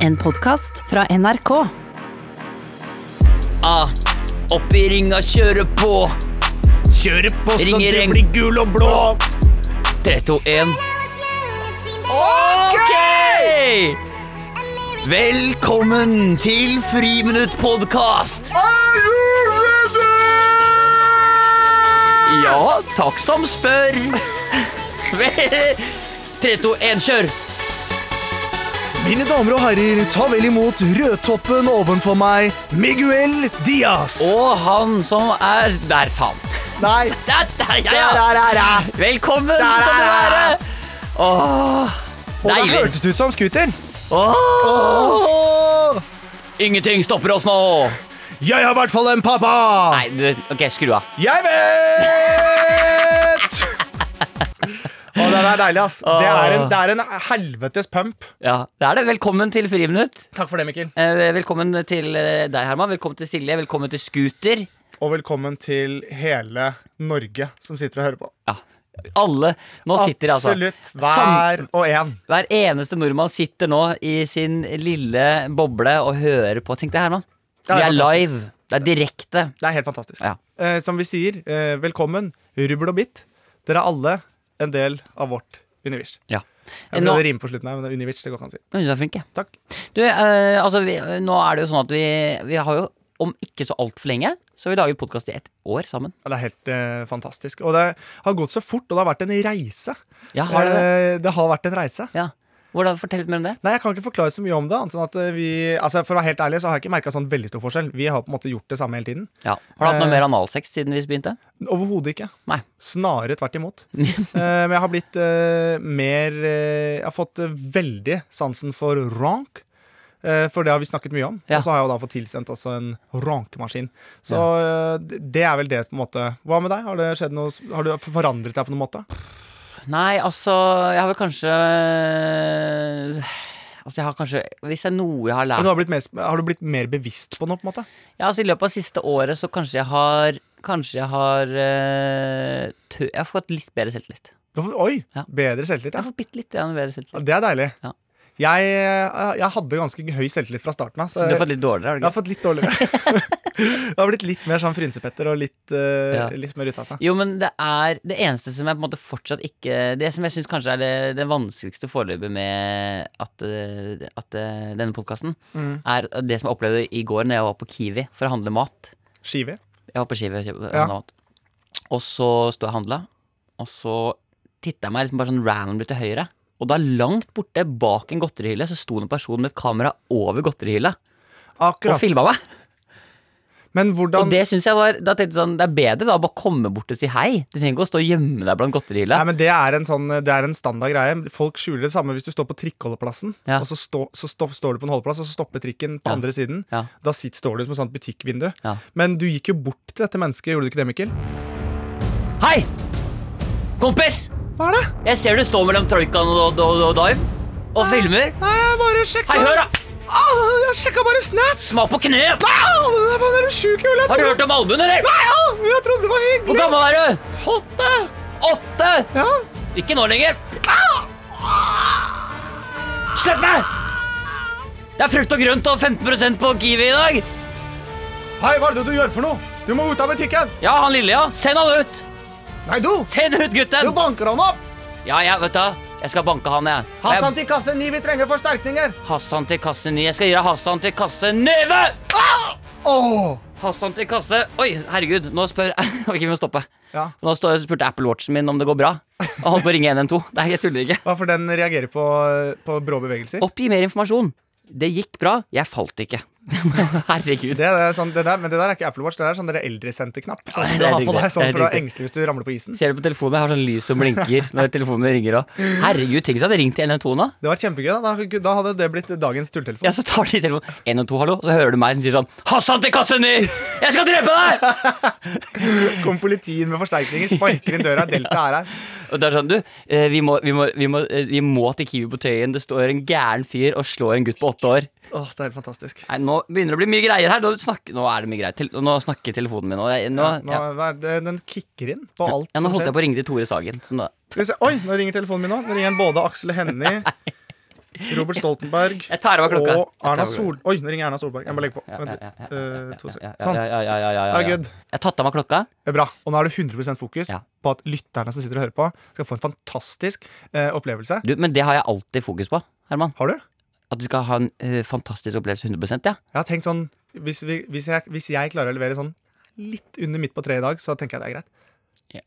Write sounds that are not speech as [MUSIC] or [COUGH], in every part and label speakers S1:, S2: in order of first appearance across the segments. S1: En podkast fra NRK.
S2: Ah, opp i ringa, kjøre på.
S3: Kjøre på så
S2: Ring i
S3: du
S2: ring.
S3: blir gul og blå.
S2: 3, 2, 1. Ok! Velkommen til Friminutt-podkast. Ja, takk som spør. Vel- 3, 2, 1, kjør.
S3: Mine damer og herrer, ta vel imot rødtoppen ovenfor meg, Miguel Diaz.
S2: Og han som er Der, faen.
S3: Nei,
S2: Der, der, ja,
S3: der,
S2: ja.
S3: der, der, der.
S2: Velkommen
S3: Der,
S2: skal du
S3: der,
S2: være.
S3: der.
S2: Åh,
S3: Og det
S2: deilig.
S3: hørtes ut som scooter.
S2: Åh,
S3: Åh,
S2: ingenting stopper oss nå.
S3: Jeg har i hvert fall en pappa.
S2: Nei, du, ok, skru av.
S3: Jeg vet! Å, det er deilig, ass. Det er, en, det er en helvetes pump.
S2: Ja, det er det. Velkommen til Friminutt.
S3: Takk for det, Mikkel.
S2: Eh, Velkommen til eh, deg, Herman. Velkommen til Silje. Velkommen til Scooter.
S3: Og velkommen til hele Norge som sitter og hører på.
S2: Ja, alle nå sitter altså
S3: Absolutt hver og en.
S2: Sam, hver eneste nordmann sitter nå i sin lille boble og hører på. Tenk deg, Herman. Vi
S3: Ja, det er
S2: er live. Det er direkte.
S3: Det er helt fantastisk.
S2: Ja.
S3: Eh, som vi sier, eh, velkommen, rubbel og bitt. Dere er alle en del av vårt univers.
S2: Ja.
S3: Jeg
S2: Nå-
S3: prøvde å rime på slutten her, men det er univers, det går ikke an å si.
S2: Jeg synes du er flink, jeg.
S3: Takk.
S2: Du, eh, altså, vi, nå er det jo sånn at vi, vi har jo om ikke så altfor lenge, så vi lager podkast i ett år sammen.
S3: Ja, Det er helt eh, fantastisk. Og det har gått så fort, og det har vært en reise.
S2: Ja, har du det?
S3: Eh, det har vært en reise.
S2: Ja. Hvordan, Fortell litt mer om det.
S3: Nei, Jeg kan ikke forklare så mye om det. Annet enn at eh, vi, altså For å være helt ærlig så har jeg ikke merka sånn veldig stor forskjell. Vi har på en måte gjort det samme hele tiden.
S2: Ja. Har du hatt noe
S3: Eh,
S2: mer analsex siden vi begynte?
S3: Overhodet ikke.
S2: Nei.
S3: Snarere
S2: [LAUGHS]
S3: tvert imot. Eh, Men jeg har blitt eh, mer eh, Jeg har fått eh, veldig sansen for rank. eh, For det har vi snakket mye om.
S2: Ja.
S3: Og så har jeg jo da fått tilsendt også en rankemaskin. Så eh, d- det er vel det, på en måte. Hva med deg? Har det skjedd noe s- Har du forandret deg på noen måte?
S2: Nei, altså Jeg har vel kanskje Altså jeg har kanskje Hvis det er noe jeg har
S3: Men Du
S2: lært
S3: har, blitt mer, sp- har du blitt mer bevisst på noe, på en måte?
S2: Ja, altså I løpet av siste året så kanskje jeg har Kanskje jeg har eh, tø, Jeg har fått litt bedre selvtillit. Jeg
S3: Du har fått- Oi!
S2: Ja.
S3: Bedre selvtillit, ja.
S2: har fått bitte litt grann bedre
S3: ja.
S2: selvtillit.
S3: Det er deilig.
S2: Ja.
S3: Jeg, eh, jeg hadde ganske høy selvtillit fra starten av.
S2: Så du har fått litt dårligere, har du ikke?
S3: Jeg har fått litt dårligere.
S2: [LAUGHS]
S3: Jeg har blitt litt mer sånn frynsepetter og litt, eh,
S2: Ja.
S3: litt mer ute av seg.
S2: Jo, men det er det eneste som jeg på en måte fortsatt ikke Det som jeg syns kanskje er det, det vanskeligste foreløpig med at, eh, at eh, denne podkasten, er det som jeg opplevde i går når jeg var på Kiwi for å handle mat.
S3: Skive.
S2: Jeg var på skive og kjøpte
S3: Ja.
S2: handla mat. Og så sto jeg og handla, og så titta jeg meg liksom bare sånn randomly til høyre. Og da langt borte bak en godterihylle så sto det en person med et kamera over godterihylla og
S3: Akkurat.
S2: filma meg.
S3: Men
S2: Og
S3: hvordan
S2: det synes jeg var Da tenkte jeg sånn, det er bedre da å bare komme bort og si hei. Du trenger ikke å stå og gjemme deg blant godterihylla.
S3: Nei, men det er, en sånn, det er en standard greie. Folk skjuler det samme hvis du står på trikkeholdeplassen.
S2: Ja.
S3: Og så, stå, så stå, står du på en holdeplass, og så stopper trikken på
S2: Ja.
S3: andre siden.
S2: Ja.
S3: Da sitt, står du som et sånt butikkvindu.
S2: Ja.
S3: Men du gikk jo bort til dette mennesket, gjorde du ikke det, Mikkel?
S2: Hei! Kompis!
S3: Hva er det?
S2: Jeg ser du står mellom Troikan og, og, og, og Dime og
S3: Ah!
S2: filmer.
S3: Nei, jeg bare sjekka
S2: Hei, hør, da!
S3: Au, Jeg sjekka bare Snap!
S2: Smak på kneet!
S3: Au, jeg var nærmest sjuk i hodet.
S2: Har du hørt om albuen,
S3: Ah!
S2: eller?
S3: Jeg trodde det var
S2: Hvor
S3: hyggelig.
S2: gammel er du?
S3: Hotte!
S2: Åtte!
S3: Ja.
S2: Ikke nå lenger. Slipp meg! Det er frukt og grønt og 15 på Kiwi i dag.
S3: Hei, hva er det du gjør for noe? Du må ut av butikken!
S2: Ja, han lille, ja. Send han ut!
S3: Nei, du!
S2: Send ut
S3: Du
S2: gutten!
S3: banker han opp!
S2: Ja, ja, vet du. Jeg skal banke han, jeg.
S3: Hassan
S2: jeg
S3: til kasse 9, vi trenger forsterkninger!
S2: Hassan til kasse 9. Jeg skal gi deg Hassan til kasse 9!
S3: Åh!
S2: Hassan til kasse Oi, herregud. Nå spør [LAUGHS] Ok, vi må stoppe.
S3: Ja,
S2: Nå stå- spurte Apple Watchen min om det går bra. Og holdt på å ringe 112. Nei, jeg tuller ikke.
S3: hva for den reagerer på, på brå bevegelser?
S2: Oppgi mer informasjon. Det gikk bra. Jeg falt ikke. [LAUGHS] Herregud.
S3: Det, er sånn, det der, men det der er ikke Apple Watch, det der er sånn dere eldresenter-knapp. Sånn som
S2: det
S3: du
S2: er
S3: har på
S2: riktig,
S3: deg sånn
S2: det er
S3: for å være
S2: riktig.
S3: engstelig hvis du ramler på isen.
S2: Ser du på telefonen, jeg har sånn lys som blinker når telefonen ringer òg. Herregud, tenk hvis jeg hadde ringt til 112 nå.
S3: Det var kjempegøy, da. Da- Da hadde det blitt dagens tulltelefon.
S2: Ja, så tar de telefonen. 112, hallo. Så hører du meg som sier sånn Hassan til kasse 9! Jeg skal drepe deg!
S3: [LAUGHS] Kom politiet med forsterkninger, sparker inn døra, Delta er her.
S2: Og det er sånn, du, eh, vi må, vi må, vi må, eh, vi må til Kiwi på Tøyen. Det står en gæren fyr og slår en gutt på åtte år.
S3: Åh, det er helt fantastisk.
S2: Nei, nå begynner det å bli mye greier her. Nå, snakker, nå er det mye greier. Til, nå snakker telefonen min. Og jeg, nå,
S3: Nå,
S2: ja.
S3: hva er det- den kicker inn på alt
S2: Ja, nå
S3: som
S2: holdt
S3: skjer.
S2: jeg på å ringe til Tore Sagen. Sånn da. [LAUGHS]
S3: Skal vi se. Oi, nå ringer telefonen min nå. Nå ringer den både Aksel og Hennie. Robert Stoltenberg
S2: Jeg tar over klokka.
S3: og Erna
S2: Jeg tar over
S3: Sol... Oi, nå ringer Erna Solberg. Jeg må legge på.
S2: Ja,
S3: Vent
S2: ja,
S3: litt.
S2: ja, ja,
S3: Eh, to
S2: ja,
S3: sek-
S2: ja,
S3: Sånn.
S2: ja, ja, ja, ja, ja,
S3: Det er
S2: ja.
S3: good.
S2: Jeg har tatt av meg klokka.
S3: Det er Bra. Og nå er det 100 fokus
S2: Ja.
S3: på at lytterne som sitter og hører på, skal få en fantastisk eh, opplevelse.
S2: Du, men det har jeg alltid fokus på, Herman.
S3: Har du?
S2: At du skal ha en eh, fantastisk opplevelse 100 ja.
S3: Jeg har tenkt sånn Hvis, vi, hvis, jeg, hvis jeg klarer å levere sånn litt under midt på tre i dag, så tenker jeg det er greit.
S2: Ja.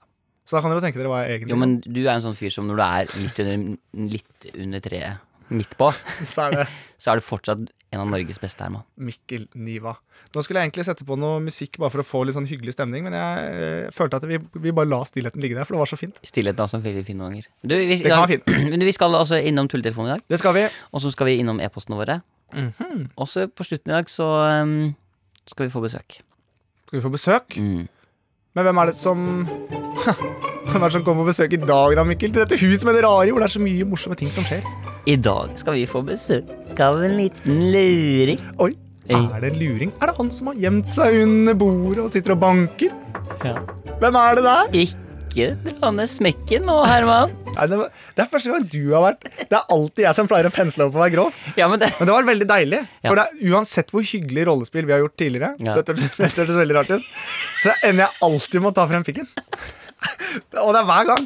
S3: Så da kan dere tenke dere hva jeg egentlig
S2: Jo, men du er en sånn fyr som når du er litt under, litt under treet midt på,
S3: [LAUGHS] Så er det
S2: så er du fortsatt en av Norges beste, Herman.
S3: Mikkel Niva. Nå skulle jeg egentlig sette på noe musikk bare for å få litt sånn hyggelig stemning, men jeg eh, følte at vi, vi bare la stillheten ligge der, for det var så fint.
S2: Stillheten er også veldig fin noen ganger. Du, vi,
S3: Det kan være fint.
S2: [CLEARS THROAT] Men du, vi skal altså innom tulletelefonen i dag,
S3: Det skal vi.
S2: og så skal vi innom e-postene våre.
S3: Mhm.
S2: Og så på slutten i dag så um, skal vi få besøk.
S3: Skal vi få besøk?
S2: Mm.
S3: Men hvem er det som [LAUGHS] Hvem er det som kommer på besøk i dag, da, Mikkel? Til dette huset med det rare, hvor det er så mye morsomme ting som skjer.
S2: I dag skal vi få besøk av en liten luring.
S3: Oi,
S2: Ei.
S3: er det en luring? Er det han som har gjemt seg under bordet og sitter og banker?
S2: Ja.
S3: Hvem er det der?
S2: Ikke dra ned smekken nå, Herman.
S3: Nei, det, var- det er første gang du har vært Det er alltid jeg som pleier å pensle over på å være grov.
S2: Ja, men det
S3: Men det var veldig deilig.
S2: Ja.
S3: For det er, uansett hvor hyggelig rollespill vi har gjort tidligere,
S2: Ja.
S3: dette, [LAUGHS] dette hørtes veldig rart ut, så ender jeg alltid med å ta frem fikken. [LAUGHS] Og det er hver gang.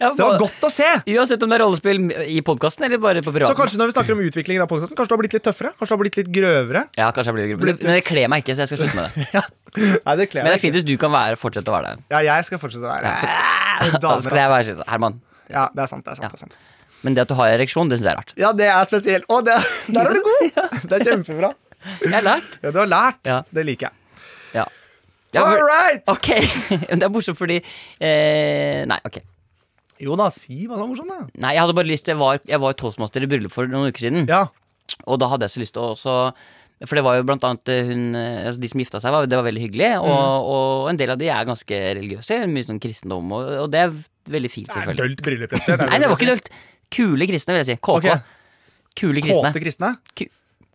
S2: Ja,
S3: Så det
S2: må-
S3: var godt å se.
S2: Uansett om det er rollespill i podkasten eller bare på
S3: Så
S2: privaten.
S3: kanskje når vi snakker om utviklingen av podcasten, kanskje du har blitt litt tøffere? Kanskje du har blitt litt [LAUGHS] grøvere?
S2: Ja, kanskje jeg blir gruppe.
S3: Blitt-
S2: Men det kler meg ikke, så jeg skal slutte
S3: [LAUGHS]
S2: med det.
S3: Nei, det
S2: Men
S3: kler
S2: det er
S3: deg. ikke.
S2: fint hvis du kan være, fortsette å være der.
S3: Ja, jeg skal fortsette å være Ah,
S2: [LAUGHS] Da skal jeg
S3: [LAUGHS] damer. ass.
S2: være sånn, Herman.
S3: Ja, det er sant. det er sant,
S2: Ja.
S3: det er sant.
S2: Men det at du har ereksjon, det syns jeg er rart.
S3: Ja, det er spesielt. Å, det er, [LAUGHS] der er du god! Det er kjempebra.
S2: Jeg har lært.
S3: Ja, du har lært.
S2: Ja.
S3: Det liker jeg.
S2: Ja. Ja,
S3: All
S2: for,
S3: right!
S2: ok, [LAUGHS] Men Det er morsomt fordi eh, Nei, ok.
S3: Jo da, si hva som er morsomt, da.
S2: Nei, Jeg hadde bare lyst til Jeg var, jeg var toastmaster i bryllup for noen uker siden.
S3: Ja.
S2: Og da hadde jeg så lyst til å også For det var jo blant annet eh, hun eh, altså De som gifta seg, var, det var veldig hyggelig. Og,
S3: Mm.
S2: og en del av de er ganske religiøse. Mye sånn kristendom, og, og det er veldig fint,
S3: Det er
S2: selvfølgelig.
S3: dølt bryllup, rett og slett.
S2: Nei, det var ikke dølt. Kule kristne, vil jeg si. KK.
S3: Ok.
S2: Kule kristne.
S3: Kåte kristne?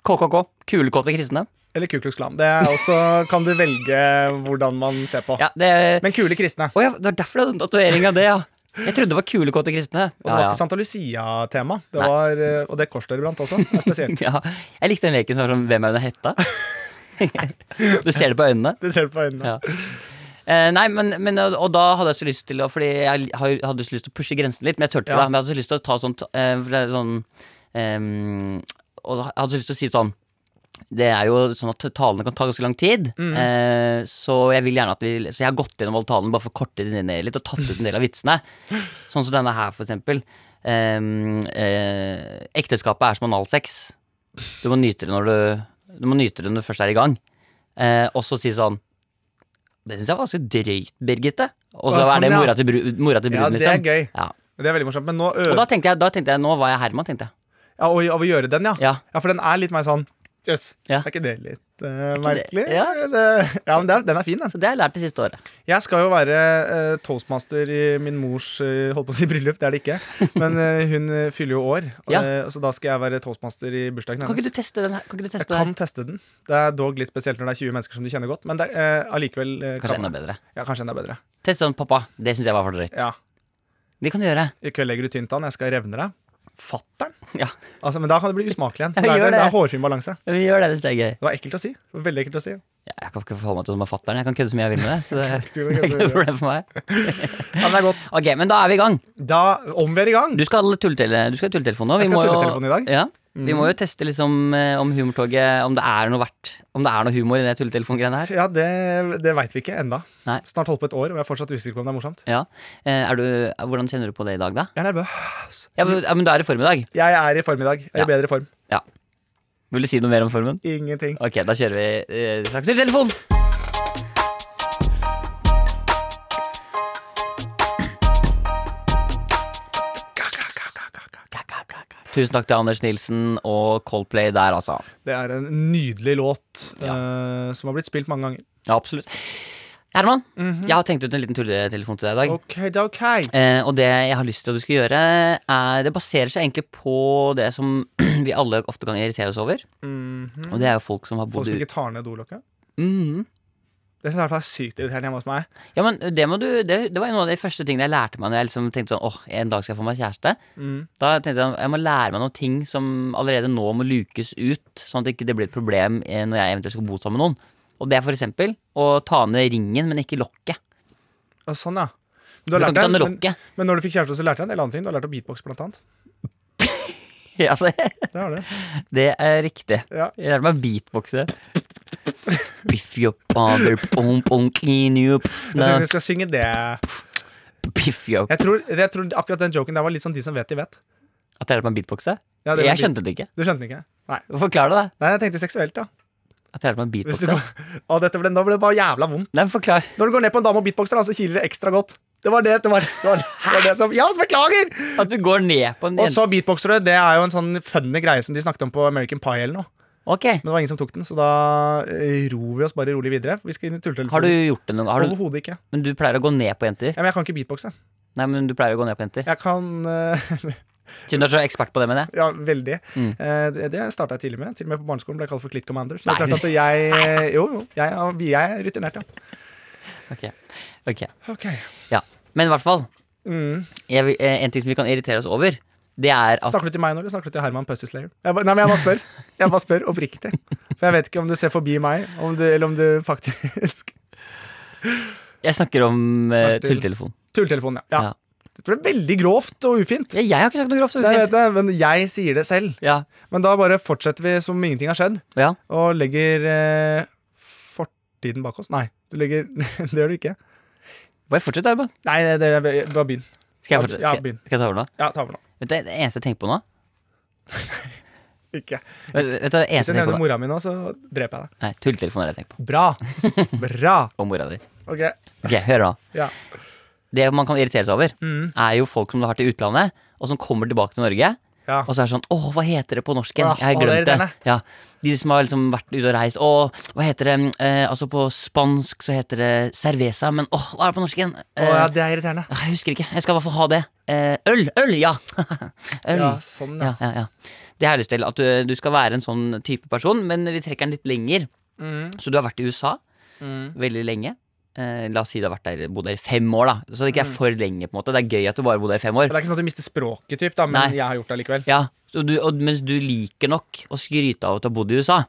S2: KKK. Kulekåte kristne.
S3: Eller Ku Klux Klan. Det er også, [LAUGHS] kan du velge hvordan man ser på.
S2: Ja, det
S3: Men kule kristne.
S2: Å ja, det var derfor du hadde sånn tatovering av det, ja. Jeg trodde det var kulekåte kristne.
S3: Og det var ikke Santa Lucia-tema. Det var, eh, Og det korset dere brant også. Det er spesielt.
S2: [LAUGHS] Ja, jeg likte den leken som var sånn Hvem er under hetta? [LAUGHS] du ser det på øynene.
S3: Det ser du på øynene.
S2: Ja. Eh, nei, men, men og, og da hadde jeg så lyst til å Fordi jeg har- hadde så lyst til å pushe grensen litt, men jeg turte ikke
S3: Ja.
S2: det. Men jeg hadde så lyst til å ta sånn, eh, for det er sånn ehm, Og da- jeg hadde så lyst til å si sånn det er jo sånn at talene kan ta ganske lang tid,
S3: Mhm.
S2: eh, så jeg vil gjerne at vi Så jeg har gått gjennom alle talene bare for å korte de ned litt og tatt ut en del av
S3: [LAUGHS]
S2: vitsene. Sånn som denne her, for eksempel. Ehm, eh, ekteskapet er som analsex. Du må nyte det når du Du må nyte det når du først er i gang. Eh, og så si sånn Det syns jeg var ganske drøyt, Birgitte. Og så
S3: Ja, sånn,
S2: er det
S3: ja.
S2: mora til, bru, mora til
S3: Ja,
S2: bruden,
S3: det er
S2: liksom.
S3: gøy.
S2: Ja.
S3: Det er veldig morsomt. Men nå ø-
S2: Og da tenkte, jeg, da tenkte jeg Nå var jeg Herman, tenkte jeg.
S3: ja, og, Av å gjøre den, ja.
S2: Ja.
S3: Ja, for den er litt mer sånn Jøss,
S2: Ja.
S3: er ikke det litt eh,
S2: det-
S3: merkelig?
S2: ja.
S3: Det- ja, men det er, den er fin, den.
S2: Så det har jeg lært det siste året.
S3: Jeg skal jo være eh, toastmaster i min mors eh, holdt på å si bryllup, det er det ikke. Men eh, hun eh, fyller jo år, og,
S2: Ja.
S3: eh, så da skal jeg være toastmaster i bursdagen hennes.
S2: Kan ikke du teste den her? Kan ikke du
S3: Jeg
S2: teste
S3: kan
S2: den?
S3: teste den. Det er dog litt spesielt når det er 20 mennesker som du kjenner godt, men det er eh, allikevel eh,
S2: Kanskje
S3: kan
S2: enda
S3: man.
S2: bedre.
S3: Ja, kanskje enda bedre.
S2: Test sånn, pappa. Det syns jeg var for drøyt.
S3: Ja.
S2: Det kan du gjøre.
S3: I kveld legger du tynt an, jeg skal revne deg. Fatter'n!
S2: Ja.
S3: Altså, men da kan det bli usmakelig
S2: [LAUGHS]
S3: igjen.
S2: Ja,
S3: Det er,
S2: gjør
S3: det. Det
S2: det.
S3: er hårfin balanse.
S2: Vi gjør det hvis det er gøy.
S3: Det var ekkelt å si. Det var Veldig ekkelt å si.
S2: Ja, Jeg kan ikke forholde meg til det som er fatter'n. Jeg kan kødde så mye jeg vil med det.
S3: [LAUGHS]
S2: Så det, det
S3: Du kan
S2: er
S3: kødde
S2: ikke
S3: så mye
S2: noe
S3: du vil.
S2: problem for meg.
S3: Ja, men det er godt.
S2: Ok, men da er vi i gang.
S3: Da, om vi er i gang
S2: Du skal ha tulletele- du skal ha tulletelefonen nå. Vi
S3: Jeg skal
S2: må
S3: ha
S2: jo-
S3: tulletelefonen i dag. Mm.
S2: Ja. Vi må jo teste liksom eh, om humortoget Om det er noe verdt Om det er noe humor i det tulletelefongreiene her.
S3: Ja, det, det veit vi ikke enda
S2: Nei.
S3: Snart holdt på et år, og jeg er fortsatt usikker på om det er morsomt.
S2: Ja. Eh, Er du, hvordan kjenner du på det i dag, da?
S3: Jeg er nervøs.
S2: Ja, men, ja, men du er i form i dag.
S3: Jeg er i form i dag. Jeg er
S2: Ja.
S3: i bedre form.
S2: Ja. Vil du si noe mer om formen?
S3: Ingenting.
S2: Ok, da kjører vi eh, straks til telefon. Tusen takk til Anders Nilsen og Coldplay der, altså.
S3: Det er en nydelig låt eh, som har blitt spilt mange ganger.
S2: Ja, absolutt. Mm. Herman, jeg har tenkt ut en liten tulletelefon til deg i dag.
S3: OK, det er OK.
S2: Eh, og det jeg har lyst til at du skal gjøre, er Det baserer seg egentlig på det som [CLEARS THROAT] vi alle ofte kan irritere oss over.
S3: Mhm.
S2: Og det er jo folk som har
S3: Folk
S2: bodd
S3: som
S2: ute
S3: ikke tar ned dolokket?
S2: mm,
S3: Det synes jeg i hvert fall er sykt irriterende hjemme hos meg.
S2: Ja, men det, må du, det, det var noen av de første tingene jeg lærte meg Når jeg liksom tenkte sånn, åh, en dag skal jeg få meg kjæreste
S3: Mhm.
S2: Da tenkte jeg, jeg må lære meg noen ting Som allerede nå må lukes ut Sånn at det ikke blir et problem eh, Når jeg eventuelt skal bo sammen med noen Og det er for eksempel å ta ned ringen, men ikke lokket
S3: Og sånn, ja. Men,
S2: Du kan ikke ta ned
S3: deg- men,
S2: lokket [LAUGHS]
S3: men når du fikk kjæreste, så lærte jeg en del andre ting. Du har lært å beatbox, blant annet.
S2: ja, det,
S3: Det har du.
S2: det er riktig
S3: Ja.
S2: Jeg lærte meg å beatboxe [LAUGHS] Biff your father, boom, boom, clean you pff,
S3: Jeg
S2: na,
S3: tror vi skal synge det.
S2: Biff your
S3: Jeg tror, jeg tror akkurat den joken der var litt sånn de som vet, de vet.
S2: At jeg lærte meg å beatboxe?
S3: Ja, det var
S2: Jeg
S3: beat-
S2: skjønte det ikke
S3: Du skjønte den ikke? Nei.
S2: Forklar det da
S3: Nei, jeg tenkte seksuelt, da.
S2: At jeg lærte meg å
S3: Hvis du
S2: beatboxe
S3: går, [LAUGHS] å, dette ble, nå ble det bare jævla vondt.
S2: Nei, men forklar
S3: Når du går ned på en dame og beatboxer, da, så kiler det ekstra godt. Det var det, det var, det var, det var det som Ja, så beklager!
S2: At du går ned på en
S3: Og
S2: jente
S3: så beatboxer du. Det er jo en sånn funny greie som de snakket om på American Pie eller noe.
S2: Ok,
S3: Men det var ingen som tok den, så da eh, ror vi oss bare rolig videre. Vi skal inn i tulletelefonen.
S2: har du gjort det noen gang? Har du-
S3: Overhodet ikke.
S2: Men du pleier å gå ned på jenter?
S3: Ja, men jeg kan ikke beatboxe.
S2: Nei, men du pleier å gå ned på jenter
S3: Jeg kan eh, [LAUGHS]
S2: Siden du er så ekspert på det, mener jeg
S3: Ja, veldig.
S2: Mm.
S3: Eh, det det starta jeg tidlig med. Til og med på barneskolen ble jeg kalt for Clit Commander. Så det er
S2: [LAUGHS] Nei.
S3: klart at jeg eh, Jo, jo. Jeg, er- vi er rutinert, ja.
S2: Ok, ok
S3: Ok.
S2: Ja, men i hvert fall
S3: Mm.
S2: jeg, vil- eh, En ting som vi kan irritere oss over Det er at
S3: Snakker du til meg nå, eller snakker du til Herman Pussy Slayer? Jeg, ba- nei, men jeg bare spør. Jeg bare spør oppriktig. For jeg vet ikke om du ser forbi meg, om du, eller om du faktisk [LAUGHS]
S2: Jeg snakker om uh,
S3: Snakker til-
S2: tulltelefon
S3: Tulletelefonen, ja.
S2: Ja.
S3: ja. Det ble veldig grovt og ufint.
S2: ja, Jeg har ikke sagt noe grovt så
S3: Det vet
S2: ufint
S3: jeg, men jeg sier det selv.
S2: Ja,
S3: Men da bare fortsetter vi som om ingenting har skjedd,
S2: ja
S3: og legger eh, fortiden bak oss. Nei, du legger [LAUGHS] Det gjør du ikke.
S2: Bare fortsett der, bare
S3: Nei, det, det, bare begynn.
S2: Skal jeg
S3: Ja,
S2: fortsette?
S3: ja,
S2: Skal jeg,
S3: begynn.
S2: skal jeg ta over nå?
S3: Ja, ta over nå.
S2: Vet du, det eneste jeg tenker på nå
S3: Ikke.
S2: Vet vet du, det
S3: Hvis
S2: eneste
S3: jeg
S2: jeg tenker
S3: nevner
S2: på nå
S3: mora mi nå, så dreper jeg deg.
S2: Nei, tulltelefon er det jeg tenker på
S3: Bra. Bra.
S2: Og mora di
S3: Ok.
S2: Ok, hør nå
S3: Ja.
S2: Det man kan irritere seg over
S3: Mm.
S2: er jo folk som du har til utlandet, og som kommer tilbake til Norge.
S3: ja.
S2: Og så er det sånn Å, hva heter det på norsk igjen?
S3: Ah,
S2: Jeg har
S3: å, det er
S2: glemt det.
S3: irriterende.
S2: Ja, de som har liksom vært ute og reist. Å, hva heter det? Eh, altså på spansk så heter det cerveza, men åh, hva er det på norsk igjen?
S3: Å
S2: Eh,
S3: ja, det er irriterende.
S2: ah, Jeg husker ikke. Jeg skal i hvert fall ha det. Eh, øl! Øl, ja! [LAUGHS] øl.
S3: Ja,
S2: Ja.
S3: sånn, ja.
S2: Ja, ja, Det har jeg lyst til. At du, du skal være en sånn type person, men vi trekker den litt lenger.
S3: Mm.
S2: Så du har vært i USA
S3: Mm.
S2: veldig lenge. Eh, la oss si du har vært der, bodd der i fem år, da. Så det
S3: Mm.
S2: ikke er for lenge. på en måte Det er gøy at du bare bodde der i fem år.
S3: Det er ikke sånn at du mister språket, typ, da, men
S2: Nei.
S3: jeg har gjort det likevel.
S2: Ja, så du, og, mens du liker nok å skryte av at du har bodd i USA.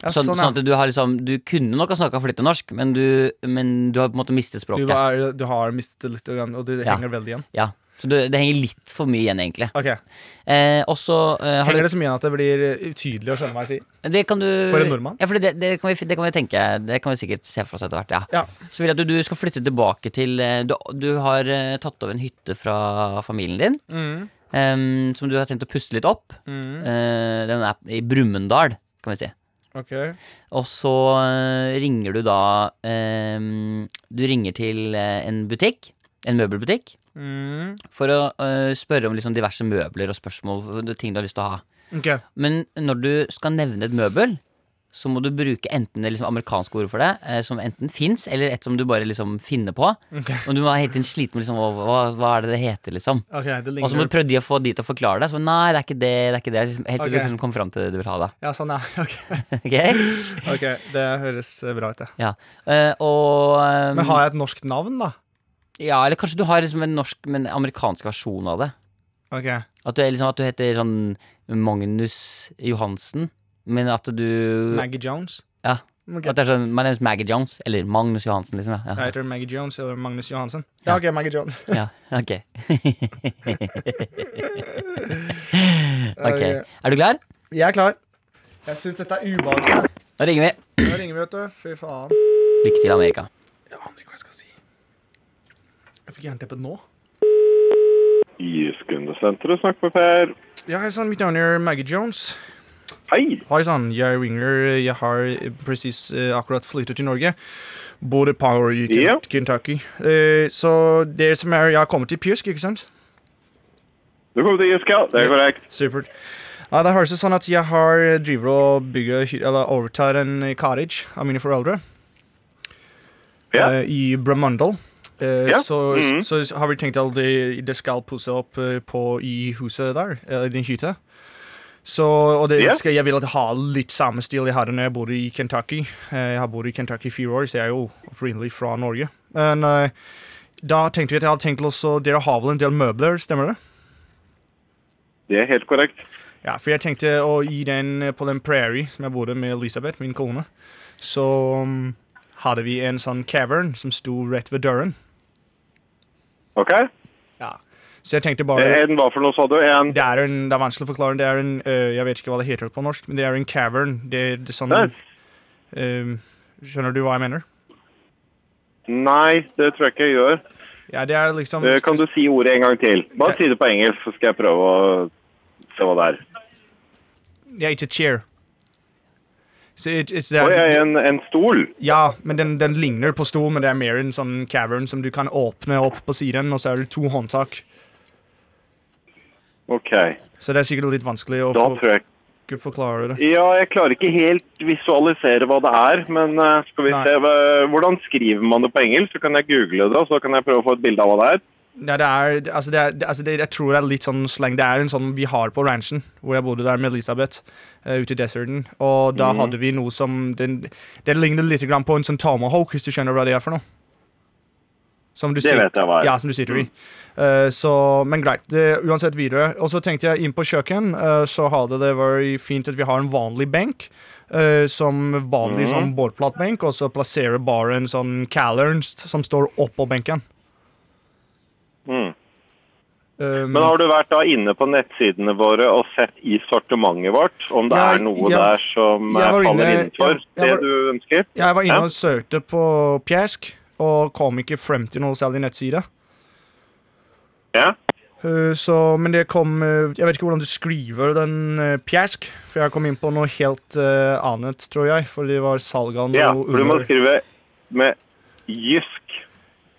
S3: Ja,
S2: sånn,
S3: sånn,
S2: sånn
S3: ja.
S2: at du har liksom Du kunne nok ha snakka flytende norsk, men du, men du har på en måte mistet
S3: Du,
S2: språket.
S3: var, du har mistet det litt, grann, og du det
S2: Ja.
S3: henger veldig igjen.
S2: Ja, Så du, det henger litt for mye igjen, egentlig.
S3: Ok,
S2: Eh, og så eh, har
S3: Henger
S2: du
S3: det så mye igjen at det blir utydelig å skjønne hva jeg sier?
S2: Det kan du
S3: For en nordmann?
S2: Ja, for det, det, kan vi, det kan vi tenke Det kan vi sikkert se for oss etter hvert, ja.
S3: Ja.
S2: Så vil jeg at du, du skal flytte tilbake til eh, Du, du har eh, tatt over en hytte fra familien din,
S3: Mm.
S2: eh, som du har tenkt å puste litt opp.
S3: Mm.
S2: Eh, den er i Brumunddal, kan vi si.
S3: Ok.
S2: Og så eh, ringer du da ehm, Du ringer til eh, en butikk, en møbelbutikk,
S3: Mm.
S2: for å eh, spørre om liksom diverse møbler og spørsmål og ting du har lyst til å ha.
S3: Ok.
S2: Men når du skal nevne et møbel, så må du bruke enten det liksom amerikanske ordet for det, eh, som enten fins, eller et som du bare liksom finner på.
S3: Ok.
S2: Og du må hele tiden slite med liksom, hva, hva- hva er det det heter, liksom.
S3: Ok, det
S2: Og så må
S3: ligner
S2: du prøve de å få de til å forklare deg. Så nei, det er ikke det, det er ikke det. Liksom, helt til
S3: Ok.
S2: du liksom kommer fram til det du vil ha, da. [LAUGHS]
S3: Ja, sånn, ja. [LAUGHS] Ok,
S2: Ok?
S3: Ok, Det høres eh, bra ut, det.
S2: Eh, og ehm,
S3: Men har jeg et norsk navn, da?
S2: Ja, eller kanskje du har liksom en norsk, men amerikansk versjon av det.
S3: Ok,
S2: At du, er liksom, at du heter sånn Magnus Johansen, men at du
S3: Maggie Jones?
S2: Ja.
S3: Ok.
S2: At det er sånn, My name is Maggie Jones, eller Magnus Johansen, liksom. Ja,
S3: Jeg
S2: ja.
S3: heter Maggie Jones eller Magnus Johansen. Ja, ok, Maggie Jones.
S2: ja [LAUGHS] ok. [LAUGHS] ok.
S3: Ok.
S2: Er du klar?
S3: Jeg er klar. Jeg syns dette er ubehagelig.
S2: Da ringer vi.
S3: Nå ringer vi, vet du. Fy faen.
S2: Lykke til, Amerika.
S3: Jeg aner ikke hva jeg skal si. Jeg fikk jernteppet nå.
S4: I Skundesenteret snakk med Per.
S3: Ja, hei sann, mitt navn er Maggie Jones.
S4: Hei!
S3: Hei sann, jeg ringer. Jeg har eh, presis eh, akkurat flyttet til Norge. Bor i Power i Ken-
S4: Ja.
S3: Kentucky. Eh, så det som er Jeg har kommet til Pjusk, ikke sant?
S4: Du kom til Iska, det er korrekt.
S3: Supert. Ja, det høres ut sånn at jeg har driver og bygger hy- Eller overtar en eh, cottage av mine foreldre
S4: Ja.
S3: eh, i Bramundal. Eh,
S4: Ja,
S3: så,
S4: mhm.
S3: så, har vi tenkt at det, det skal pusse opp eh, på, i huset der, eh, i den hytta. Så, og det,
S4: Ja.
S3: skal, jeg vil at jeg har litt samme stil jeg hadde når jeg bodde i Kentucky. Eh, Jeg har bodd i Kentucky i fire år, så jeg er jo opprinnelig fra Norge. Men eh, da tenkte vi at jeg hadde tenkt også, Dere har vel en del møbler, stemmer det?
S4: Det er helt korrekt.
S3: Ja, for jeg tenkte å gi den eh, på den prairie som jeg bodde med Elisabeth, min kone. Så mm, hadde vi en sånn cavern som sto rett ved døren.
S4: OK?
S3: Så jeg tenkte
S4: Eh,
S3: bare
S4: En hva for noe, sa du? En
S3: det er, en, det er vanskelig å forklare. Det er en, øh, jeg vet ikke hva det heter på norsk, men det er en cavern. Det, det er sånn,
S4: Nei.
S3: øhm, skjønner du hva jeg mener?
S4: Nei, det tror jeg ikke jeg gjør.
S3: Ja, det er liksom...
S4: Eh, Kan du si ordet en gang til? Bare
S3: Ja.
S4: si det på engelsk, så skal jeg prøve å se hva det er.
S3: Ja, it's a chair. Så it, it's
S4: Å
S3: that,
S4: ja, en, en stol.
S3: Ja, men den, den ligner på stol, men det er mer en sånn cavern som du kan åpne opp på siden, og så er det to håndtak.
S4: OK.
S3: Så det er sikkert litt vanskelig å
S4: Da
S3: for-
S4: tror jeg
S3: forklare det.
S4: Ja, jeg klarer ikke helt visualisere hva det er, men eh, skal vi
S3: Nei.
S4: se hva- Hvordan skriver man det på engelsk? Så kan jeg google det, og så kan jeg prøve å få et bilde av hva det er.
S3: Nei, det er, det- altså det er, det- altså det, jeg tror det er litt sånn slang. Det er en sånn vi har på ranchen, hvor jeg bodde der med Elisabeth, eh, ute i deserten. Og
S4: Mm.
S3: da hadde vi noe som den, Det ligner litt grann på en sånn tomahawk, hvis du skjønner hva det er for noe. Som du
S4: Det vet jeg hva er.
S3: Ja, som du sitter i. Eh, så, men greit. Det, uansett videre. Og så tenkte jeg inn på kjøkken, eh, så hadde det vært fint at vi har en vanlig benk. eh, som vanlig
S4: Mm.
S3: sånn bordplatebenk, og så plasserer bare en sånn calernst som står oppå benken.
S4: Mm.
S3: Um,
S4: Men har du vært da inne på nettsidene våre og sett i sortimentet vårt om det
S3: Nei,
S4: er noe
S3: jeg-
S4: der som eh,
S3: jeg var
S4: faller
S3: inne-
S4: innenfor
S3: jeg- jeg var-
S4: det du ønsker?
S3: Jeg var inne
S4: Ja.
S3: og søkte på pjesk, og kom ikke frem til noe særlig nettside.
S4: Ja?
S3: Eh, Så, men det kom eh, Jeg vet ikke hvordan du skriver den eh, pjesk, for jeg kom inn på noe helt eh, annet, tror jeg. For det var salg av noe
S4: ja. For du må
S3: under-
S4: skrive med jysk.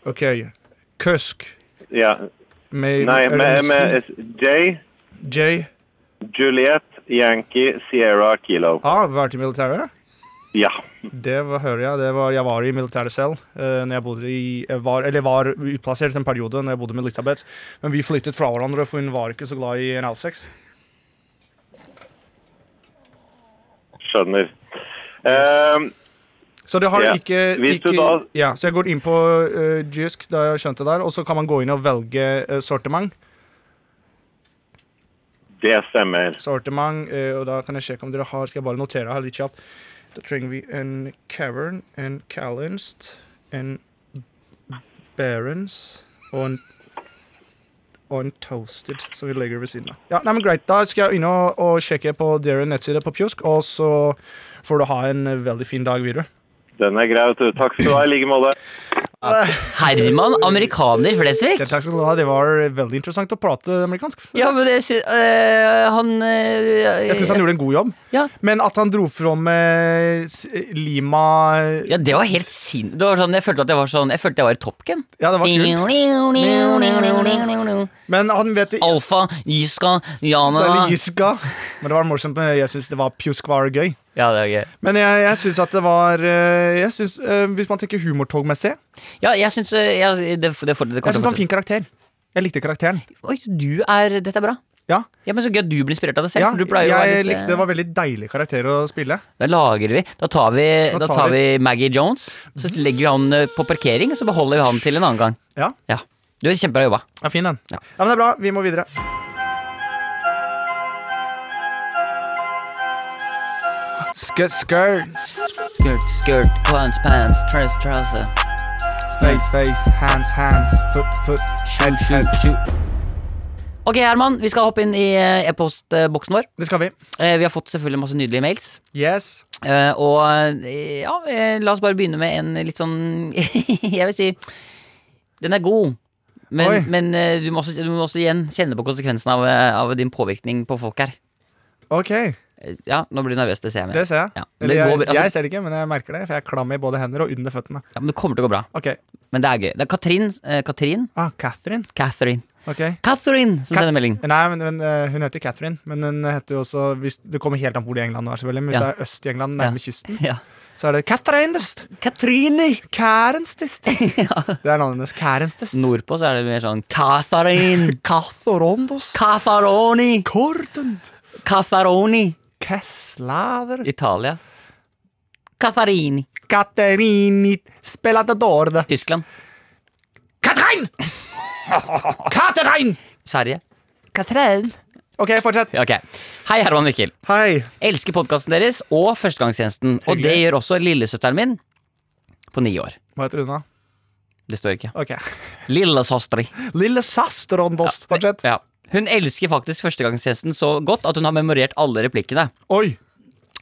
S3: OK. Køsk.
S4: Ja.
S3: Med,
S4: Nei,
S3: er det
S4: med,
S3: C?
S4: med J.
S3: J.
S4: Juliet Yankee Sierra Kilo.
S3: Ah, vært i militæret?
S4: Ja.
S3: Det var, hører jeg. Det var, jeg var i militæret selv. eh, når jeg bodde i, jeg var, eller var utplassert en periode når jeg bodde med Elisabeth. Men vi flyttet fra hverandre, for hun var ikke så glad i en L6.
S4: Skjønner. Eh,
S3: Så det har
S4: Ja.
S3: ikke,
S4: Hvis du
S3: ikke
S4: da-
S3: ja, Så jeg går inn på uh, Jysk, da jeg skjønte det der, og så kan man gå inn og velge eh, sortiment.
S4: det stemmer.
S3: Sortiment, eh, og da kan jeg sjekke om dere har Skal jeg bare notere her litt kjapt. Da trenger vi en cavern, en callenst, en barons og en og en toasted, som vi legger ved siden av. Ja, nei, men Greit, da skal jeg inn og, og sjekke på deres nettside på Pjusk, og så får du ha en eh, veldig fin dag videre.
S4: Den er grei, vet du. Takk skal du ha i like måte.
S2: Herman, amerikaner,
S3: Ja,
S2: Flesvig.
S3: Takk skal du ha, det var eh, veldig interessant å prate amerikansk.
S2: Ja, men det sy øh, Han øh,
S3: Jeg syns han gjorde en god jobb.
S2: Ja.
S3: Men at han dro fram eh, s- Lima
S2: Ja, det var helt sin... Det var sånn, jeg følte at jeg var sånn Jeg følte jeg var i Top Gun.
S3: Ja, det var kult. Men han vet det
S2: Alfa, Jyska, Jana
S3: Særlig Giska. [LAUGHS] Men det var morsomt. men Jeg syns det var pjusk var gøy.
S2: Ja, det er gøy.
S3: Men jeg, jeg syns at det var eh, Jeg synes, eh, Hvis man tenker humortogmessig,
S2: Ja, jeg syns øh, jeg, det, det, får- det, kommer
S3: jeg syns det
S2: til å
S3: var en fin karakter. Jeg likte karakteren.
S2: Oi, du er Dette er bra.
S3: Ja,
S2: Ja, men Så gøy at du blir inspirert av det selv.
S3: ja
S2: for du pleier jo å være
S3: jeg
S2: litt, eh,
S3: likte Det var veldig deilig karakter å spille.
S2: Da lager vi Da tar vi,
S3: Da
S2: da
S3: tar
S2: tar vi Maggie Jones. Så legger vi han eh, på parkering, og så beholder vi han til en annen gang.
S3: Ja,
S2: Ja. Du er kjempebra jobba.
S3: ja Fin, den.
S2: Ja.
S3: Ja. men det er bra. Vi må videre. Sk skirt,
S2: Skirt, skirt, pants, pants, trous, trouser.
S3: face, face, hands, hands, foot, foot, head, head.
S2: Ok, Herman, vi skal hoppe inn i eh, e-postboksen vår.
S3: Det skal vi.
S2: Eh, Vi har fått selvfølgelig masse nydelige mails.
S3: Yes.
S2: Eh, Og eh, ja, eh, la oss bare begynne med en litt sånn [LAUGHS] Jeg vil si Den er god.
S3: Oi.
S2: Men, men eh, du, må også, du må også igjen kjenne på konsekvensen av, eh, av din påvirkning på folk her.
S3: Ok,
S2: Eh, Ja, nå blir du nervøs, det ser jeg med.
S3: det ser jeg.
S2: Ja, men
S3: Eller
S2: det går
S3: jeg,
S2: bra, altså-
S3: jeg ser det ikke, men jeg merker det, for jeg er klam i både hender og under føttene.
S2: Ja, men det kommer til å gå bra.
S3: Ok,
S2: Men det er gøy. Det er Katrin, eh, Katrin,
S3: ah, Catherine.
S2: Catherine
S3: Ok.
S2: Catherine som
S3: Kat-
S2: sender melding.
S3: Nei, men, men eh, hun heter Catherine, men hun heter jo også hvis, Det kommer helt an på hvor i England du er, selvfølgelig, men hvis
S2: Ja.
S3: det er øst i England, nærme
S2: Ja.
S3: kysten,
S2: Ja.
S3: så er det Catherindest!
S2: Katrine! [LAUGHS]
S3: Kærenstest! Det er navnet hennes. Kærenstest.
S2: Nordpå så er det mer sånn Catherine!
S3: Kathorondos.
S2: Catharoni!
S3: Kordund.
S2: Caffaroni.
S3: Kesslaver
S2: Italia. Caffarini.
S3: Katerini Spelatadorde
S2: Tyskland. [LAUGHS]
S3: Katrin! Katrin!
S2: Sverige.
S3: Katrin! OK, fortsett.
S2: Ja, Ok. Hei, Herman Mikkel.
S3: Hei.
S2: Elsker podkasten deres og Førstegangstjenesten. Og det
S3: Hyggelig.
S2: gjør også lillesøsteren min på ni år.
S3: Hva heter hun, da?
S2: Det står ikke.
S3: Ok.
S2: Lillesøsteri.
S3: Lille Sastrondost. Fortsett.
S2: Ja. Hun elsker faktisk Førstegangstjenesten så godt at hun har memorert alle replikkene.
S3: Oi.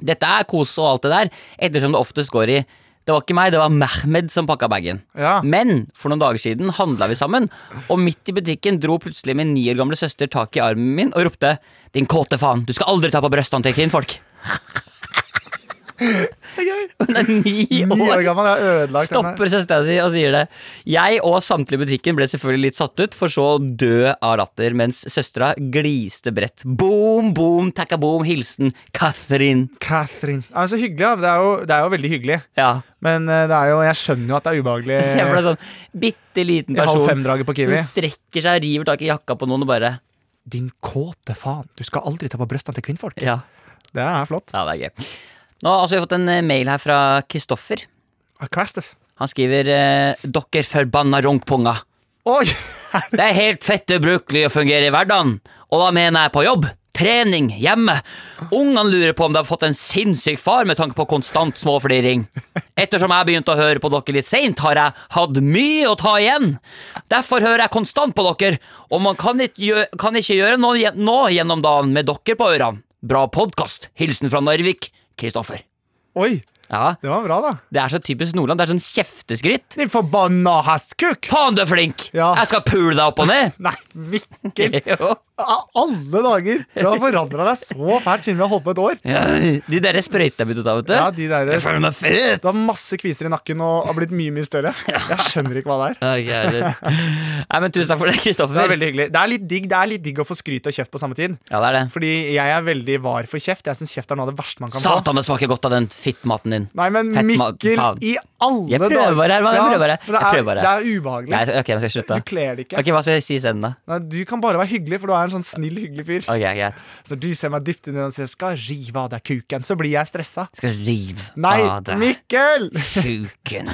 S2: Dette er kos og alt det der, ettersom det oftest går i det var ikke meg, det var Mehmed som pakka bagen.
S3: Ja.
S2: Men for noen dager siden handla vi sammen, og midt i butikken dro plutselig min ni år gamle søster tak i armen min og ropte 'Din kåte faen, du skal aldri ta på brysthåndtaket til kvinnfolk'.
S3: Det er gøy.
S2: Hun er ni
S3: [LAUGHS] Ni år
S2: år!
S3: gammel, jeg har ødelagt henne.
S2: Stopper søstera si og sier det. Jeg og samtlige i butikken ble selvfølgelig litt satt ut, for så å dø av latter, mens søstera gliste bredt. Boom, boom, takka boom, hilsen Catherine.
S3: Catherine. Ja, men så hyggelig, da. Det er jo, det er jo veldig hyggelig.
S2: Ja.
S3: Men eh, det er jo, jeg skjønner jo at det er ubehagelig.
S2: [LAUGHS] Jeg ser for deg sånn bitte liten
S3: I Eh, halv
S2: person
S3: fem-draget på Kiwi.
S2: som strekker seg og river tak i jakka på noen og bare
S3: Din kåte faen. Du skal aldri ta på brystene til kvinnfolk.
S2: Ja,
S3: Det er flott.
S2: ja det er gøy. Nå har altså, vi fått en eh, mail her fra Kristoffer.
S3: Ah, Crastoff.
S2: Han skriver eh, 'Dokker forbanna runkpunga'.
S3: Oi! [LAUGHS]
S2: Det er helt fett ubrukelig å fungere i hverdagen. Og da mener jeg på jobb, trening, hjemme. Ungene lurer på om de har fått en sinnssyk far med tanke på konstant småfliring. Ettersom jeg begynte å høre på dere litt seint, har jeg hatt mye å ta igjen. Derfor hører jeg konstant på dere, og man kan ikke gjøre, kan ikke gjøre noe gjen- nå gjennom dagen med dere på ørene. Bra podkast. Hilsen fra Narvik. Kristoffer.
S3: Oi!
S2: Ja,
S3: Det var bra, da.
S2: Det er så typisk Nordland. Det er sånn kjefteskryt.
S3: Din forbanna hastkuk!
S2: Faen, du er flink!
S3: Ja.
S2: Jeg skal pule deg opp og
S3: [LAUGHS]
S2: ned.
S3: Nei, Mikkel!
S2: Jo.
S3: Av Alle dager! Du har forandra deg så fælt siden vi har holdt på et år.
S2: Ja, de der sprøytene jeg begynte å ta, vet du.
S3: Ja, de der,
S2: Jeg føler meg fet!
S3: du har masse kviser i nakken og har blitt mye mye større. Jeg skjønner ikke hva det er.
S2: Ja, jævlig. Nei, men Tusen takk for det,
S3: Det er
S2: Kristoffer.
S3: veldig hyggelig Det er litt digg, det er litt digg å få skryt og kjeft på samme tid.
S2: Ja, det er det.
S3: Fordi jeg er veldig var for kjeft. Jeg syns kjeft er noe av det verste man kan få.
S2: Satan, det smaker godt av den fittmaten din.
S3: Nei, men
S2: Fett mat,
S3: Mikkel,
S2: faen.
S3: i alle
S2: Jeg prøver
S3: dager-
S2: bare, Herman, jeg prøver bare.
S3: men det,
S2: Jeg
S3: er,
S2: prøver bare.
S3: det er ubehagelig.
S2: Nei, så- ok, men skal jeg slutte?
S3: du kler det ikke.
S2: Ok, Hva skal jeg si isteden, da?
S3: Nei, du kan bare være hyggelig, for du er en sånn snill, hyggelig fyr.
S2: Ok, greit.
S3: Så du ser meg dypt inn i den og sier 'skal rive av deg kuken', så blir jeg stressa.
S2: Jeg skal rive
S3: Nei,
S2: av deg
S3: Mikkel!
S2: kuken.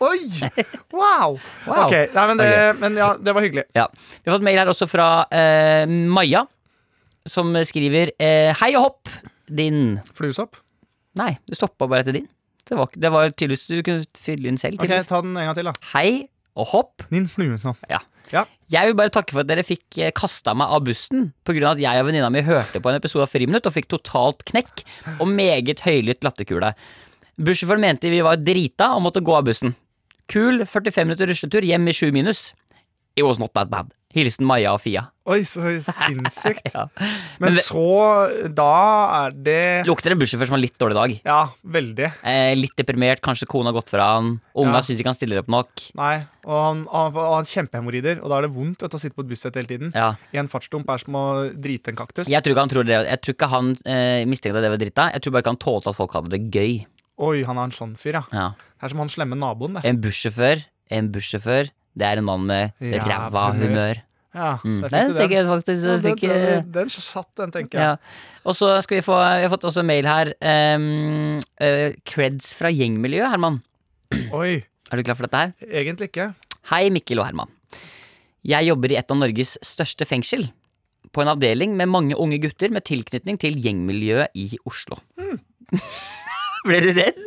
S3: Oi! Wow.
S2: [LAUGHS] Wow.
S3: Ok, nei, men, det, men ja, det var hyggelig.
S2: Ja. Vi har fått mail her også fra eh, Maja, som skriver eh, Hei og hopp, din
S3: Fluesopp?
S2: Nei, du stoppa bare etter din. Det var, det var tydeligvis Du kunne fylle inn selv.
S3: Ok,
S2: tydeligvis.
S3: ta den en gang til, da.
S2: Hei og hopp.
S3: Din fluesopp.
S2: Ja.
S3: Ja.
S2: Jeg vil bare takke for at dere fikk kasta meg av bussen pga. at jeg og venninna mi hørte på en episode av Friminutt og fikk totalt knekk og meget høylytt latterkule. Bussjåføren mente vi var drita og måtte gå av bussen. Kul 45 minutter rusletur hjem i 7 minus. It was not that bad. Hilsen Maja og Fia.
S3: Oi, så sinnssykt.
S2: [LAUGHS] Ja.
S3: Men
S2: Men det-
S3: så Da er det
S2: Lukter en bussjåfør som har litt dårlig dag.
S3: Ja, veldig.
S2: Eh, litt deprimert, kanskje kona har gått fra han. Unga
S3: Ja.
S2: syns ikke han stiller opp nok.
S3: Nei, og han, han, han kjempehemoroider, og da er det vondt vet, du, å sitte på et bussett hele tiden.
S2: Ja.
S3: I en fartsdump er som å drite en kaktus.
S2: Jeg tror ikke han, tror det, jeg tror ikke han eh, mistenkte at det var drita. Jeg tror bare ikke han tålte at folk hadde det gøy.
S3: Oi, han er en sånn fyr, ja.
S2: Ja.
S3: Det er som han slemme naboen, det.
S2: En bussjåfør En bussjåfør Det er en mann med
S3: Ja,
S2: ræva
S3: humør.
S2: humør
S3: Ja,
S2: mm.
S3: det
S2: Den
S3: fikk du
S2: tenker
S3: den.
S2: jeg faktisk
S3: Ja,
S2: jeg
S3: den,
S2: fikk, eh,
S3: den, den satt, den, tenker jeg.
S2: ja. Og så skal vi få Vi har fått også mail her ehm, eh, Creds fra gjengmiljø, Herman
S3: Oi.
S2: Er du klar for dette her?
S3: Egentlig ikke.
S2: Hei Mikkel og Herman Jeg jobber i et av Norges største fengsel På en avdeling med mange unge gutter Med tilknytning til gjengmiljø i Oslo [LAUGHS] Ble du redd?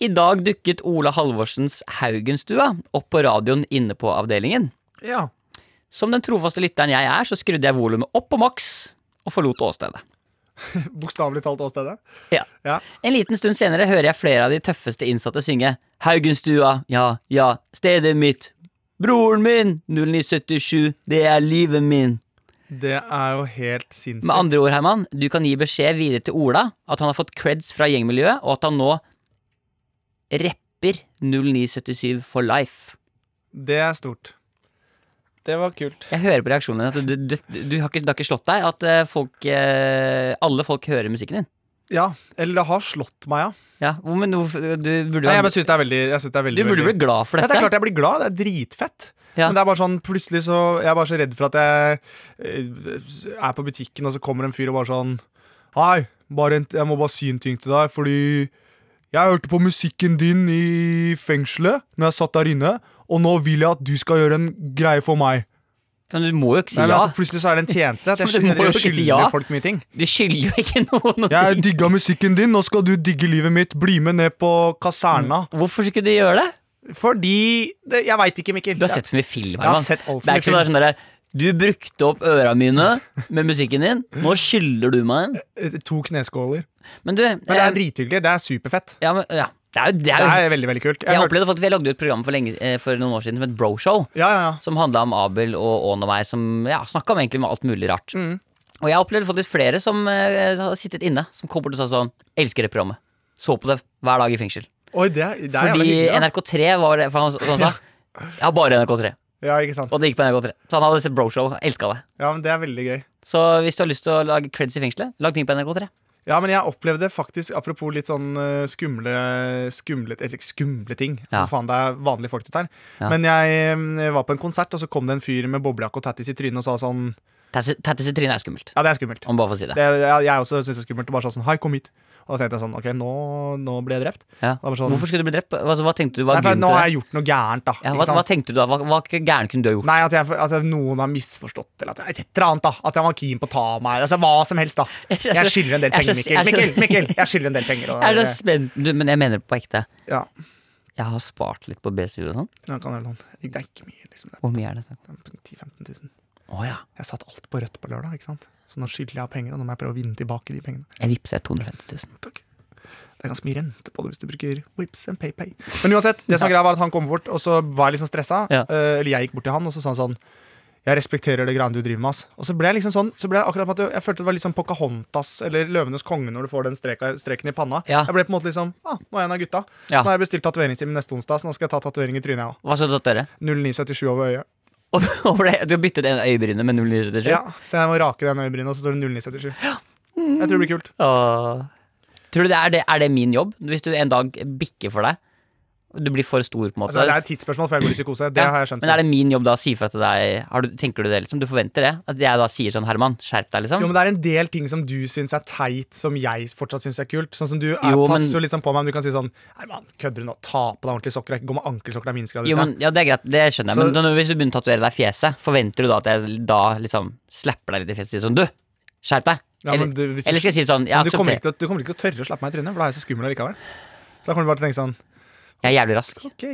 S2: I dag dukket Ola Halvorsens Haugenstua opp på radioen inne på avdelingen.
S3: Ja. [LAUGHS]
S2: Som den trofaste lytteren jeg er, så skrudde jeg volumet opp på maks og forlot åstedet.
S3: Bokstavelig talt åstedet.
S2: Ja.
S3: Ja.
S2: En liten stund senere hører jeg flere av de tøffeste innsatte synge Haugenstua, ja, ja, stedet mitt, broren min, 0977, det er livet min.
S3: Det er jo helt
S2: Med
S3: sinnssykt.
S2: andre ord, Herman, du kan gi beskjed videre til Ola at han har fått creds fra gjengmiljøet, og at han nå rapper 0977 for life.
S3: Det er stort. Det var kult.
S2: Jeg hører på reaksjonen din at du, du, du, du, har ikke, det har ikke slått deg at eh, folk, eh, alle folk hører musikken din.
S3: Ja, eller det har slått meg, ja.
S2: Ja, hvor- men hvorfor- du burde jo
S3: Nei,
S2: ha-
S3: jeg bare syns det er veldig, jeg synes det er veldig
S2: Du burde
S3: veldig-
S2: bli glad for
S3: ja,
S2: dette.
S3: Det er klart jeg blir glad. Det er dritfett.
S2: Ja.
S3: Men det er bare sånn, plutselig så Jeg er bare så redd for at jeg eh, er på butikken, og så kommer en fyr og bare sånn Hei, bare en, jeg må bare si en ting til deg, fordi jeg hørte på musikken din i fengselet når jeg satt der inne, og nå vil jeg at du skal gjøre en greie for meg.
S2: Men du må jo ikke si
S3: Nei, men
S2: ja.
S3: at plutselig så er det en tjeneste. At jeg,
S2: Men [LAUGHS] du må jo
S3: skylder- jeg
S2: ikke si
S3: skylder
S2: ja.
S3: folk mye
S2: [LAUGHS]
S3: ting.
S2: Du skylder jo ikke noen noe.
S3: Jeg digga musikken din, nå skal du digge livet mitt. Bli med ned på kaserna.
S2: Hvorfor skulle du gjøre det?
S3: Fordi det, Jeg veit ikke, Mikkel.
S2: Du har sett så mye film.
S3: Jeg har
S2: Herman.
S3: sett alt for
S2: det er
S3: mye
S2: ikke bare sånn derre Du brukte opp øra mine med musikken din. Nå skylder du meg en.
S3: Eh, To kneskåler.
S2: Men du
S3: Men det
S2: eh,
S3: er drithyggelig. Det er superfett.
S2: ja, men, ja. Det er jo, det
S3: Det
S2: er jo
S3: er veldig, veldig kult. Jeg
S2: Jeg
S3: hørte-
S2: opplevde faktisk, Vi lagde jo et program for, lenge, eh, for noen år siden som het Broshow.
S3: ja, ja, ja.
S2: Som handla om Abel og Ån og meg, som ja, snakka om egentlig med alt mulig rart.
S3: Mm.
S2: Og jeg opplevde faktisk flere som eh, har sittet inne, som kom bort og sa sånn Elsker det programmet. Så på det hver dag i fengsel.
S3: Oi, det, er- det er jævlig
S2: Fordi
S3: hyggelig, da.
S2: NRK3 var det for han, som han sa. Jeg har bare NRK3.
S3: Ja, ikke sant.
S2: Og det gikk på NRK3. Så han hadde sett Broshow. Elska det.
S3: Ja, men Det er veldig gøy.
S2: Så hvis du har lyst til å lage creds i fengselet, lag ting på NRK3.
S3: Ja, men jeg opplevde faktisk, apropos litt sånn eh, skumle Skumle, eller ikke skumle ting.
S2: Ja.
S3: Så faen, det er vanlige folk dette her.
S2: Ja.
S3: Men jeg eh, var på en konsert, og så kom det en fyr med boblejakke og tattis i trynet og sa sånn
S2: Tattis i trynet er skummelt.
S3: Ja, det er skummelt.
S2: Om bare for å si det.
S3: Det, jeg, jeg også syntes det var skummelt. Og bare sa sånn Hei, kom hit. Og da tenkte jeg sånn OK, nå, nå ble jeg drept.
S2: Ja.
S3: var sånn-
S2: Hvorfor skulle du bli drept? Altså, hva tenkte du var
S3: Nei, for
S2: grunnen
S3: nå
S2: til
S3: har
S2: det?
S3: jeg gjort noe gærent, da.
S2: Ja,
S3: ikke
S2: hva,
S3: sant?
S2: hva tenkte du da? Hva, hva gæren kunne du ha gjort?
S3: Nei, at, jeg, at jeg, noen har misforstått eller at jeg, et eller annet. da At jeg var keen på å ta meg Altså Hva som helst, da.
S2: er så-
S3: Jeg skylder en
S2: [LAUGHS]
S3: del
S2: jeg er så-
S3: penger, Mikkel.
S2: jeg er så-
S3: Mikkel, Mikkel, jeg skylder en del penger. Og,
S2: [LAUGHS] Jeg er så spent, du, men jeg mener det på ekte.
S3: ja.
S2: Jeg har spart litt på BSU og sånn.
S3: Ja, kan jeg låne. Det er ikke mye, liksom. Det
S2: Hvor mye er det? sånn?
S3: er 10 000-15 000.
S2: Å ja.
S3: Jeg satt alt på rødt på lørdag, ikke sant? så nå skylder jeg av penger. Og nå må jeg prøve å vinne tilbake de pengene.
S2: Jeg vippset 250 000.
S3: Takk. Det er ganske mye rente på det hvis du bruker Whips and PayPay. Men uansett, det som var greia var at han kom bort, og så var jeg liksom stressa.
S2: Ja.
S3: Eh, Eller jeg gikk bort til han, og så sa han sånn Jeg respekterer det greiene du driver med, ass. Og så ble jeg liksom sånn Så ble jeg akkurat som at jeg- jeg følte det var litt sånn Pocahontas eller Løvenes konge når du får den streka, streken i panna.
S2: Ja.
S3: Jeg ble på en måte liksom ah, nå er jeg en av gutta.
S2: Ja.
S3: Så nå har jeg bestilt tatoveringstime neste onsdag, så nå skal jeg ta tatovering i trynet, jeg òg.
S2: Hva skal du tatt [LAUGHS] dere?
S3: 0977 over øyet.
S2: Over det- Du har byttet en øyebrynene med 0,97?
S3: Ja, så jeg må rake den øyebrynet, og så står det 0977. Jeg tror det blir kult.
S2: Åh. Tror du det er, det er det min jobb? Hvis du en dag bikker for deg, og du blir for stor på en måte
S3: Altså, det er et tidsspørsmål, for jeg går i psykose. Det
S2: Ja,
S3: har jeg skjønt.
S2: Men er det min jobb da å si fra til deg? Har du, tenker du det liksom? Du forventer det? At jeg da sier sånn, Herman, skjerp deg, liksom?
S3: Jo, men Det er en del ting som du syns er teit, som jeg fortsatt syns er kult. Sånn som Du er,
S2: Jo, men-
S3: passer jo liksom på meg, men du kan si sånn Nei, man, kødder du nå? Ta på deg ordentlige sokker. Jeg kan Gå med ankelsokker, det er minusgrader
S2: Jo,
S3: ute.
S2: men, ja, det er greit, det skjønner jeg.
S3: Så-
S2: Men da, når- hvis du begynner å tatovere deg i fjeset, forventer du da at jeg da liksom slapper deg litt i fjeset og sier sånn Du, skjerp deg!
S3: Ja, men du-
S2: eller,
S3: hvis du-
S2: eller skal jeg si sånn Jeg
S3: Men du,
S2: aksepterer
S3: kommer ikke til, å- du kommer ikke til å tørre å slappe meg i trynet, for da er jeg så skummel likevel. Så da kommer du bare til å tenke sånn
S2: Jeg er jævlig rask.
S3: OK,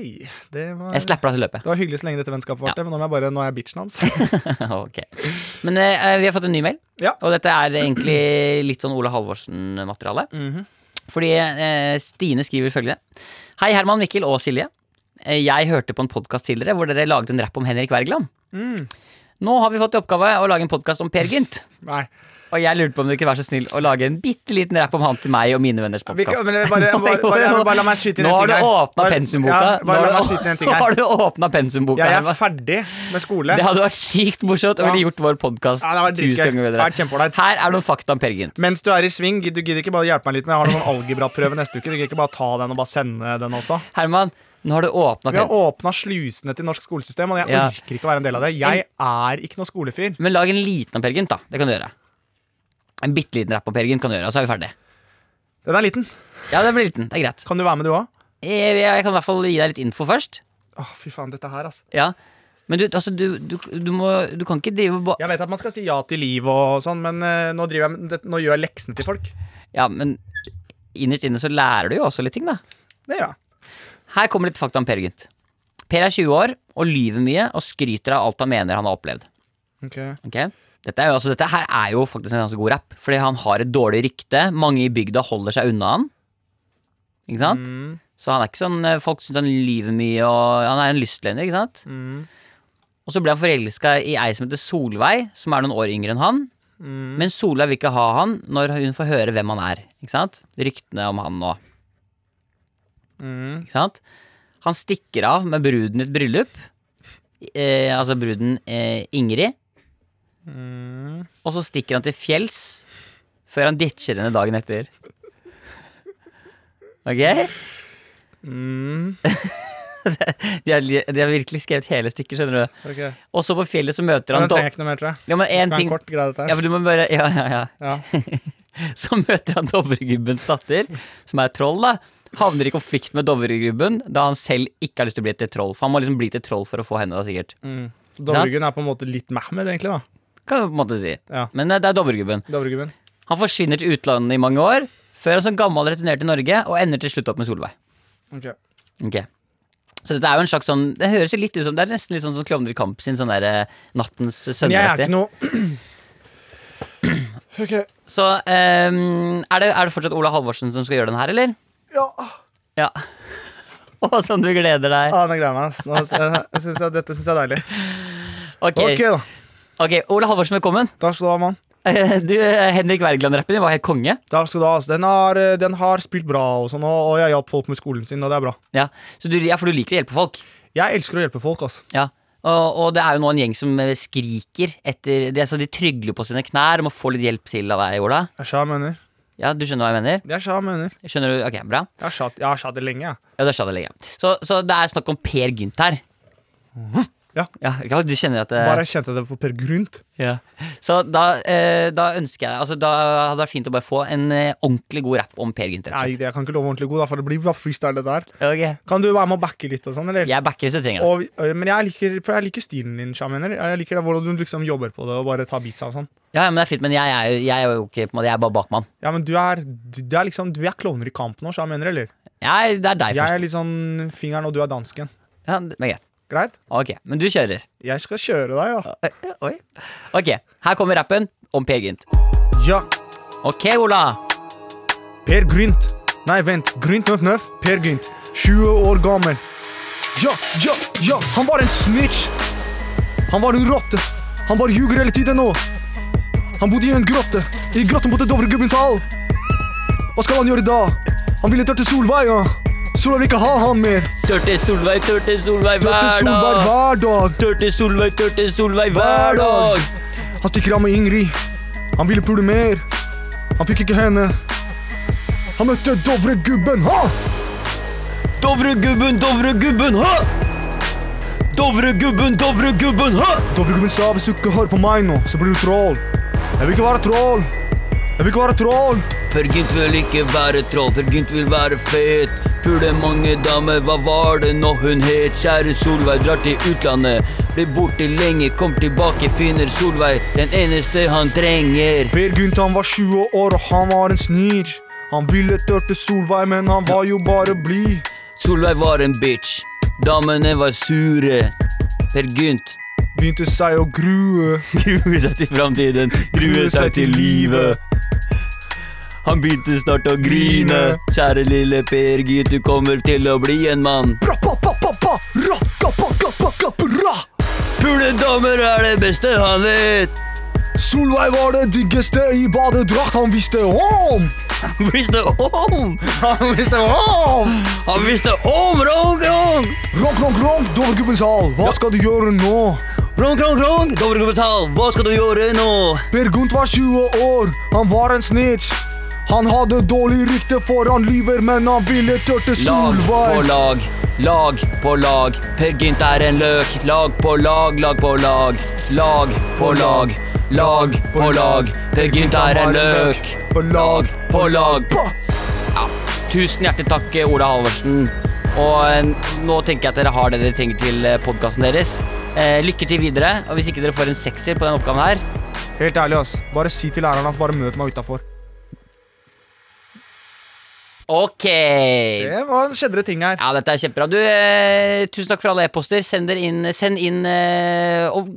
S3: det var,
S2: Jeg slapper deg til løpet.
S3: det var hyggelig så lenge dette vennskapet varte, men nå, må jeg bare, nå er jeg bitchen
S2: [LAUGHS]
S3: hans.
S2: ok. Men eh, vi har fått en ny mail,
S3: Ja.
S2: og dette er egentlig litt sånn Ole Halvorsen-materiale.
S3: Mhm.
S2: Fordi eh, Stine skriver følgende. Hei, Herman, Mikkel og Silje. Eh, Jeg hørte på en podkast tidligere hvor dere laget en rapp om Henrik Wergeland.
S3: Mm.
S2: Nå har vi fått i oppgave å lage en podkast om Per Gynt.
S3: Nei.
S2: Og jeg lurte på om du kunne være så snill å lage en bitte liten rapp om han til meg og mine venners
S3: Vi kan,
S2: podkast.
S3: men jeg bare, jeg må
S2: [LAUGHS]
S3: bare, bare, jeg må bare la meg skyte inn
S2: Nå
S3: en
S2: har du
S3: ting her.
S2: åpna
S3: Bare-
S2: pensumboka.
S3: Ja,
S2: Nå
S3: bare
S2: har
S3: la meg
S2: du- [LAUGHS]
S3: skyte inn en ting
S2: Nå har
S3: her.
S2: du åpna pensumboka.
S3: Jeg er
S2: Herman.
S3: ferdig med skole.
S2: det hadde vært sykt morsomt og
S3: Ja.
S2: ville gjort vår podkast
S3: Ja, det hadde vært
S2: tusen
S3: dritgøy.
S2: ganger
S3: Det hadde vært
S2: bedre.
S3: kjempeålreit.
S2: Her er noen fakta om Per Gynt.
S3: Mens du er i sving, du gidder ikke bare hjelpe meg litt med Jeg har noen algebraprøve neste uke. Du gidder ikke bare ta den og bare sende den også?
S2: Herman, nå har du åpna
S3: Vi har åpna slusene til norsk skolesystem, og jeg
S2: Ja.
S3: orker ikke å være en del av det. Jeg er ikke noe skolefyr.
S2: Men lag en liten om Per Gynt, da. Det kan du gjøre. En bitte liten rapp om Per Gynt kan du gjøre, og så er vi ferdige.
S3: Den er liten.
S2: Ja, det blir liten. Det er greit.
S3: Kan du være med, du òg?
S2: Jeg, jeg kan i hvert fall gi deg litt info først.
S3: Åh, fy faen, dette her, altså.
S2: Ja. Men du, altså, du, du, du må Du kan ikke drive ba...
S3: Jeg vet at man skal si ja til liv og sånn, men eh, nå, driver jeg, med- det, nå gjør jeg leksene til folk.
S2: Ja, men innerst inne så lærer du jo også litt ting, da.
S3: Det gjør jeg.
S2: Her kommer litt fakta om Per Gynt. Per er 20 år og lyver mye og skryter av alt han mener han har opplevd. Ok? Dette, er jo, altså, dette her er jo faktisk en ganske god rapp, fordi han har et dårlig rykte. Mange i bygda holder seg unna han. Ikke sant?
S3: Mm,
S2: Så han er ikke sånn eh, folk syns han lyver mye, og han er en lystløgner, ikke sant?
S3: mm,
S2: Og så ble han forelska i ei som heter Solveig, som er noen år yngre enn han.
S3: mm.
S2: Men Solveig vil ikke ha han når hun får høre hvem han er. Ikke sant? Ryktene om han nå.
S3: Mm.
S2: Ikke sant? Han stikker av med bruden i et bryllup. Eh, altså bruden eh, Ingrid.
S3: Mm.
S2: Og så stikker han til fjells før han ditcher henne dagen etter.
S3: Mm.
S2: Ok? De har, li- de har virkelig skrevet hele stykket, skjønner du.
S3: Ok.
S2: Og så på fjellet så møter
S3: Men
S2: han
S3: jeg trenger
S2: dom-
S3: ikke noe mer, tror jeg.
S2: Ja, men
S3: Jeg
S2: en
S3: Skal ha en
S2: ting
S3: kort greie, dette
S2: Ja,
S3: her.
S2: for du må bare Ja, ja, ja.
S3: Ja.
S2: [LAUGHS] Så møter han Dovregubbens datter, som er troll, da. Havner i konflikt med Dovregubben da han selv ikke har lyst til å bli til troll. For han må liksom bli til troll for å få henne, da, sikkert.
S3: Mm. Dovregubben er på en måte litt Mehmed, egentlig. da
S2: Kan du på en måte si.
S3: Ja.
S2: Men eh, det er Dovregubben.
S3: Dovregubben.
S2: Han forsvinner til utlandet i mange år, før han som gammel returnerer til Norge og ender til slutt opp med Solveig.
S3: Ok.
S2: Ok Så dette er jo en slags sånn Det høres jo litt ut som Det er nesten litt sånn som Klovner i kamp sin sånn der eh, Nattens
S3: Men jeg er
S2: sønner.
S3: ikke noe [CLEARS THROAT] Ok,
S2: Så eh, er, det, er det fortsatt Ola Halvorsen som skal gjøre den her, eller?
S3: ja
S2: Ja. [LAUGHS] Å, som du gleder deg.
S3: ah, Nå gleder jeg meg. ass. Nå, jeg, jeg synes jeg, dette syns jeg er deilig.
S2: Ok,
S3: Ok, da.
S2: ok, Ola Halvorsen, velkommen.
S3: Takk skal du ha, mann.
S2: Eh, Du, eh, Henrik Wergeland-rappen din var helt konge.
S3: Takk skal du ha, ass. Den har, eh, den har spilt bra, og sånn Og og jeg hjalp folk med skolen sin, og det er bra.
S2: Ja, så du, ja for du liker å hjelpe folk.
S3: Jeg elsker å hjelpe folk, altså. ass.
S2: Ja, og, og det er jo nå en gjeng som eh, skriker etter det, så De trygler på sine knær om å få litt hjelp til av deg, Ola.
S3: Jeg sa jeg mener.
S2: Ja, du skjønner hva jeg mener?
S3: Jeg sa jeg mener.
S2: Skjønner du? Ok, bra.
S3: Jeg har sagt- jeg har sagt det lenge, jeg.
S2: Ja, det skjønner jeg lenge. Så, så det er snakk om Per Gynt her.
S3: Ja.
S2: ja. ja, Du kjenner at det,
S3: Bare jeg kjente det på Per Grunt.
S2: ja. Så da, eh, da ønsker jeg altså, Da hadde det vært fint å bare få en eh, ordentlig god rapp om Per Gynt. rett og
S3: Nei,
S2: slett.
S3: jeg kan ikke love ordentlig god, da, for det blir bare freestyle, det der.
S2: Ok.
S3: Kan du være med og backe litt og sånn, eller?
S2: Jeg backer hvis du trenger det.
S3: Og, vi- øh, men jeg liker, for jeg liker stilen din, Shamener. Jeg liker det, hvordan du liksom jobber på det og bare tar beatsa og sånn.
S2: Ja, ja, men det er fint, men jeg er, jo- jeg er jo ikke på en måte, Jeg er bare bakmann.
S3: Ja, men du er, du, det er liksom, du er klovner i kamp nå, Shamener, eller?
S2: Jeg, det er deg
S3: Jeg
S2: først.
S3: er litt sånn fingeren, og du er dansken.
S2: Ja, det- men greit.
S3: Greit?
S2: Ok, men du kjører.
S3: Jeg skal kjøre deg, ja.
S2: Oi. Ok, her kommer rappen om Per Gynt.
S3: Ja,
S2: Ok, Ola.
S3: Per Grynt. Nei, vent. Grynt Nøff Nøff. Per Grynt. 20 år gammel. Ja, ja, ja. Han var en snitch. Han var en rotte. Han bare ljuger hele tiden nå. Han bodde i en grotte. I grotten bodde Dovregubbens hall. Hva skal han gjøre da? Han ville tørte Solveig, ja. Solveig vil ikke ha han mer.
S2: Tør til Solveig, tør til Solveig
S3: Tørte
S2: hver dag.
S3: Solveig hver dag.
S2: Tør til Solveig, tør til Solveig
S3: Hver
S2: hver
S3: dag.
S2: dag.
S3: Han stikker av med Ingrid. Han ville pule mer. Han fikk ikke henne. Han møtte Dovregubben. Ha!
S2: Dovregubben, Dovregubben, hø! Dovregubben, Dovregubben, hø!
S3: Dovregubben sa hvis du ikke hører på meg nå, så blir du troll. Jeg vil ikke være troll. Jeg vil ikke være troll.
S2: Per Gynt vil ikke være troll, Per Gynt vil være fet. Pule mange damer, hva var det nå hun het? Kjære Solveig drar til utlandet. Blir borte lenge, kom tilbake, finner Solveig den eneste han trenger.
S3: Per Gynt han var 20 år og han var en snir. Han ville tørte Solveig, men han var jo bare blid.
S2: Solveig var en bitch. Damene var sure. Per Gynt
S3: Begynte seg å grue.
S2: gruer seg til framtiden, gruer seg til livet. Han begynte snart å grine. Kjære lille Per Gynt, du kommer til å bli en mann.
S3: Bra, pa, pa, pa, pa, ra, ka, pa, ka, pa, ka, bra.
S2: Puledommer er det beste han vet.
S3: Solveig var det diggeste i badedrakt han visste om.
S2: Han visste om!
S3: Han visste om!
S2: Han visste om rong, rong!
S3: Ronk, ronk, ronk, Dovregubbens hall. Hva skal du gjøre nå?
S2: Rong, rong, rong! Dobbeltkommentar, hva skal du gjøre nå?
S3: Per Gunt var 20 år, han var en snitch. Han hadde dårlig rykte for han lyver, men han ville tørte
S2: Lag på
S3: Solveig.
S2: lag, lag på lag. Per Gynt er en løk. Lag på lag, lag på lag. Lag på lag, lag på lag. Per Gynt er en løk.
S3: På lag,
S2: Lag på lag.
S3: pa.
S2: Tusen hjertelig takk, Ola Halvorsen. Og eh, nå tenker jeg at dere har det dere trenger til podkasten deres. Eh, lykke til videre. Og hvis ikke dere får en sekser på den oppgaven her
S3: Helt ærlig, ass. Bare si til læreren at bare møt meg utafor.
S2: Ok!
S3: Det var en skjedre ting her.
S2: Ja, dette er kjempebra. Du, eh, tusen takk for alle e-poster. Send dere inn, send inn eh, og,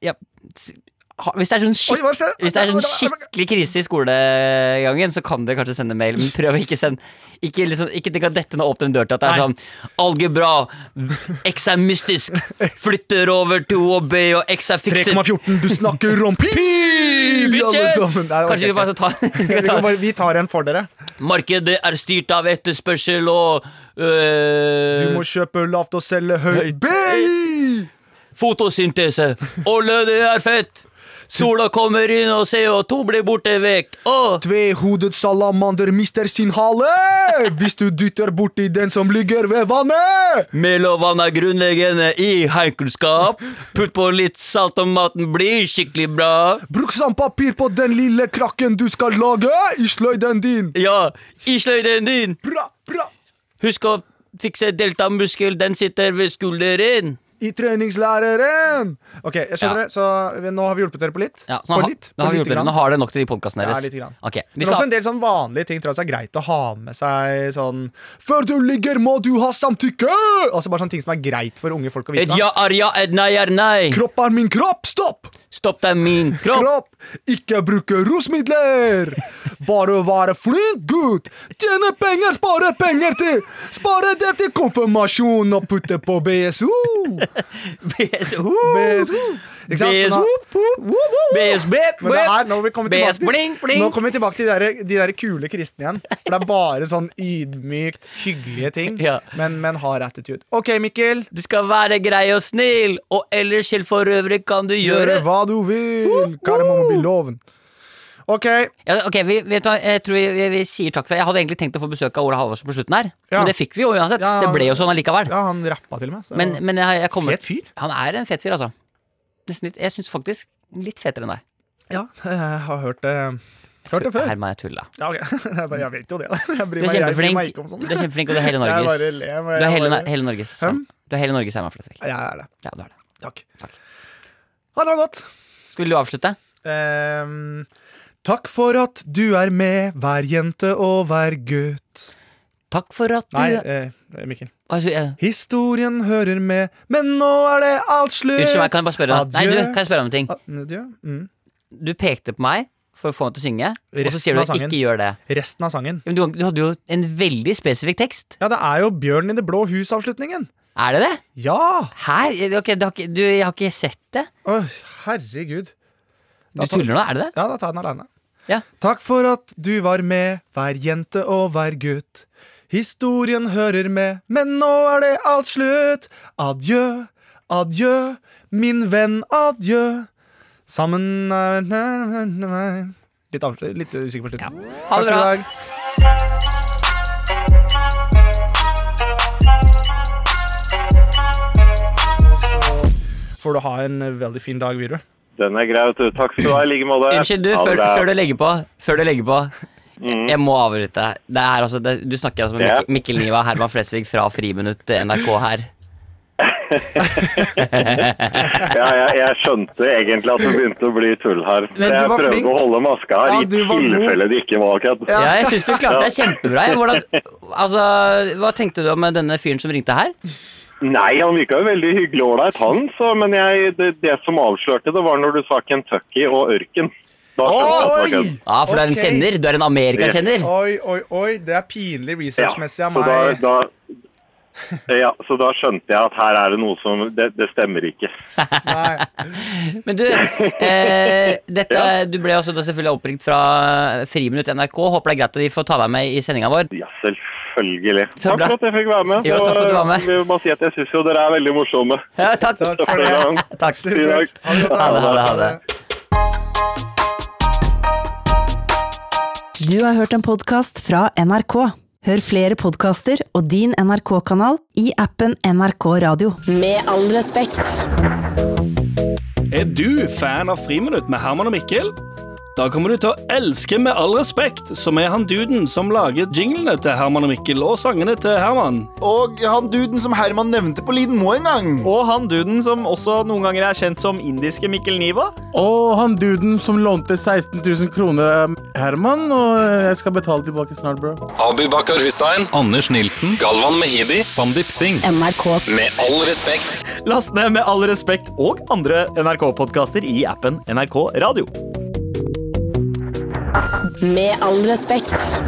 S2: ja, s- ha, hvis, det er sånn
S3: Oi,
S2: skikk,
S3: hva skjedde?
S2: hvis det er sånn skikkelig krise i skolegangen, så kan dere kanskje sende mail, men prøv å ikke sende ikke, liksom, ikke tenk at dette nå åpner en dør til at det er
S3: Nei.
S2: sånn Algebra, X er mystisk, flytter over til OB, og X er fikset
S3: 3,14, du snakker om pil! alle
S2: Bitches!
S3: sammen. Nei, det var
S2: Kanskje [LAUGHS] vi
S3: kjekt.
S2: bare tar,
S3: Vi
S2: tar
S3: kan bare- Vi tar en for dere.
S2: Markedet er styrt av etterspørsel og øh,
S3: Du må kjøpe lavt og selge høyt. Baby!
S2: Fotosyntese. Olje, det er fett! Sola kommer inn, og CO2 blir borte vekk. Å,
S3: Tvehodet salamander mister sin hale hvis du dytter borti den som ligger ved vannet.
S2: Melovann er grunnleggende i heimkunnskap. Putt på litt salt, og maten blir skikkelig bra.
S3: Bruk sandpapir på den lille krakken du skal lage i sløyden din.
S2: Ja, i sløyden din.
S3: Bra, bra.
S2: Husk å fikse deltamuskel, den sitter ved skulderen.
S3: I treningslæreren. Ok, jeg
S2: Ja.
S3: skjønner det. Så vi, nå har vi hjulpet dere på litt.
S2: Ja, så
S3: på
S2: nå,
S3: litt.
S2: har- nå, har
S3: på
S2: vi
S3: lite
S2: hjulpet dere.
S3: grann.
S2: nå har dere nok til de podkastene
S3: Ja,
S2: deres.
S3: lite grann.
S2: Ok, vi
S3: Men også
S2: skal,
S3: en del sånn vanlige ting tror jeg også er greit å ha med seg. sånn Før du ligger, må du ha samtykke! Altså Bare sånne ting som er greit for unge folk å
S2: et
S3: vite.
S2: ja er ja, et nei er nei.
S3: Kropp er min kropp! Stopp!
S2: Stopp deg, min kropp.
S3: Kropp! Ikke bruke rusmidler! Bare være flink gutt! Tjene penger, spare penger til Spare det til konfirmasjon og putte på BSO!
S2: [LAUGHS] BSO.
S3: BSO! Ikke sant? Sånn at-
S2: BSB.
S3: Men det her, nå må vi komme tilbake
S2: BS
S3: til,
S2: bling, bling.
S3: Nå kommer vi tilbake til de der, de der kule kristne igjen. For det er bare sånn ydmykt, hyggelige ting,
S2: Ja.
S3: men, men har attitude. OK, Mikkel.
S2: Du skal være grei og snill, og ellers helt for øvrig kan du
S3: Gjøre
S2: gjøre
S3: hva du vil. Kardemommeby-loven. OK.
S2: ja, Ok, vi, vet du, hva, Jeg tror vi, vi, vi sier takk for Jeg hadde egentlig tenkt å få besøk av Ola Halvorsen på slutten her,
S3: Ja.
S2: men det fikk vi jo uansett.
S3: Ja,
S2: Det ble jo sånn allikevel.
S3: Ja, han rappa til og med. Så.
S2: Men, men jeg, jeg kommer
S3: Fet fyr.
S2: Han er en fet fyr, altså. Nesten litt, jeg syns faktisk litt fetere enn deg.
S3: Ja, jeg har hørt det. Hørt det før.
S2: Herman, jeg tulla.
S3: Ja, ok. [LAUGHS] Jeg bare- Jeg vet jo det. da. Jeg bryr
S2: Du er
S3: meg, jeg bryr
S2: kjempeflink,
S3: meg ikke om sånt.
S2: du er kjempeflink og du er hele
S3: sånn. [LAUGHS] Jeg
S2: Norges
S3: bare ler, men
S2: Du er
S3: jeg
S2: hele,
S3: bare-
S2: hele Norges
S3: Hæ?
S2: Du er hele Norges Herman Flesvig.
S3: Jeg er det.
S2: Ja, du er det.
S3: Takk.
S2: Takk.
S3: Ha det godt.
S2: Skulle du avslutte?
S3: Ehm, takk for at du er med, hver jente og hver gutt.
S2: Takk for at du
S3: Nei, eh, Mikkel.
S2: Hva sier jeg?
S3: Historien hører med, men nå er det alt slutt.
S2: Unnskyld meg, kan jeg bare spørre deg? Nei,
S3: Adjø.
S2: du, kan jeg spørre deg om en ting?
S3: Adjø. Mm.
S2: Du pekte på meg for å få meg til å synge, og så
S3: Resten
S2: sier du
S3: av
S2: at jeg
S3: sangen.
S2: ikke gjør det.
S3: Resten av sangen.
S2: Ja, Men du, du hadde jo en veldig spesifikk tekst.
S3: Ja, det er jo Bjørn i det blå hus-avslutningen.
S2: Er det det?
S3: Ja!
S2: Her? Ok, det har ikke, du, jeg har ikke sett det.
S3: Å, herregud.
S2: Du
S3: Altså-
S2: tuller nå, er det det?
S3: Ja, da tar jeg den aleine.
S2: Ja.
S3: Takk for at du var med, hver jente og hver gutt. Historien hører med, men nå er det alt slutt. Adjø, adjø, min venn, adjø. Sammen er nei, nei, nei. Litt, avslut- litt usikker på slutten.
S2: Ha det
S3: Takk for i
S2: bra.
S3: dag. Får du ha en veldig fin dag videre.
S4: Den er grei, vet du. Takk skal du ha i like måte.
S2: Unnskyld, du,
S4: Ha det
S2: før,
S4: bra.
S2: før du legger på Før du legger på Jeg må avbryte deg. Det er altså, det, du snakker altså med
S4: Ja.
S2: Mikkel, Mikkel Niva og Herman Flesvig fra Friminutt eh, NRK her.
S4: Ja, jeg, jeg skjønte egentlig at det begynte å bli tull her.
S3: Men du
S4: jeg
S3: var
S4: prøvde
S3: flink.
S4: å holde maska her
S3: Ja,
S4: i
S3: du var god.
S4: tilfelle det ikke var kødd.
S2: Ja, jeg syns du klarte deg kjempebra. jeg. Hvordan, altså, hva tenkte du om denne fyren som ringte her?
S4: Nei, han virka jo veldig hyggelig og ålreit, han. Så, men jeg, det, det som avslørte det, var når du sa Kentucky og ørken. Da skjønte jeg at det var kødd.
S2: Ja, for du er en
S3: Ok.
S2: kjenner. Du er en Amerika-kjenner.
S3: Oi, oi, oi. Det er pinlig researchmessig av
S4: så
S3: meg.
S4: Da, da, ja, så da skjønte jeg at her er det noe som Det, det stemmer ikke.
S3: Nei.
S2: Men du, eh, dette, du ble også da selvfølgelig oppringt fra Friminutt NRK. Håper det er greit at vi får ta deg med i sendinga vår.
S4: Ja, selvfølgelig.
S2: Så
S4: Takk
S2: bra.
S4: for at jeg fikk være med. eh,
S2: Jo, takk for at du var med.
S4: Jeg vil bare si at jeg syns jo dere er veldig morsomme.
S2: Ja, takk.
S3: Takk
S4: for det.
S2: Takk.
S4: I dag.
S3: Ha det godt, da.
S2: Ha det, ha det, ha det.
S1: Du har hørt en podkast fra NRK. Hør flere podkaster og din NRK-kanal i appen NRK Radio.
S5: Med all respekt.
S6: Er du fan av Friminutt med Herman og Mikkel? Da kommer du til å elske Med all respekt, som er han duden som lager jinglene til Herman og Mikkel og sangene til Herman.
S7: Og han duden som Herman nevnte på Lidenmo en gang.
S8: Og han duden som også noen ganger er kjent som indiske Mikkel Niva.
S9: Og han duden som lånte 16 000 kroner av Herman, og eh, jeg skal betale tilbake snart, bro.
S10: Abubakar Hussein, Anders Nilsen, Galvan Mehidi, Sandeep Singh.
S5: NRK
S10: Med all respekt.
S8: Last ned med all respekt og andre NRK-podkaster i appen NRK Radio.
S5: Med all respekt.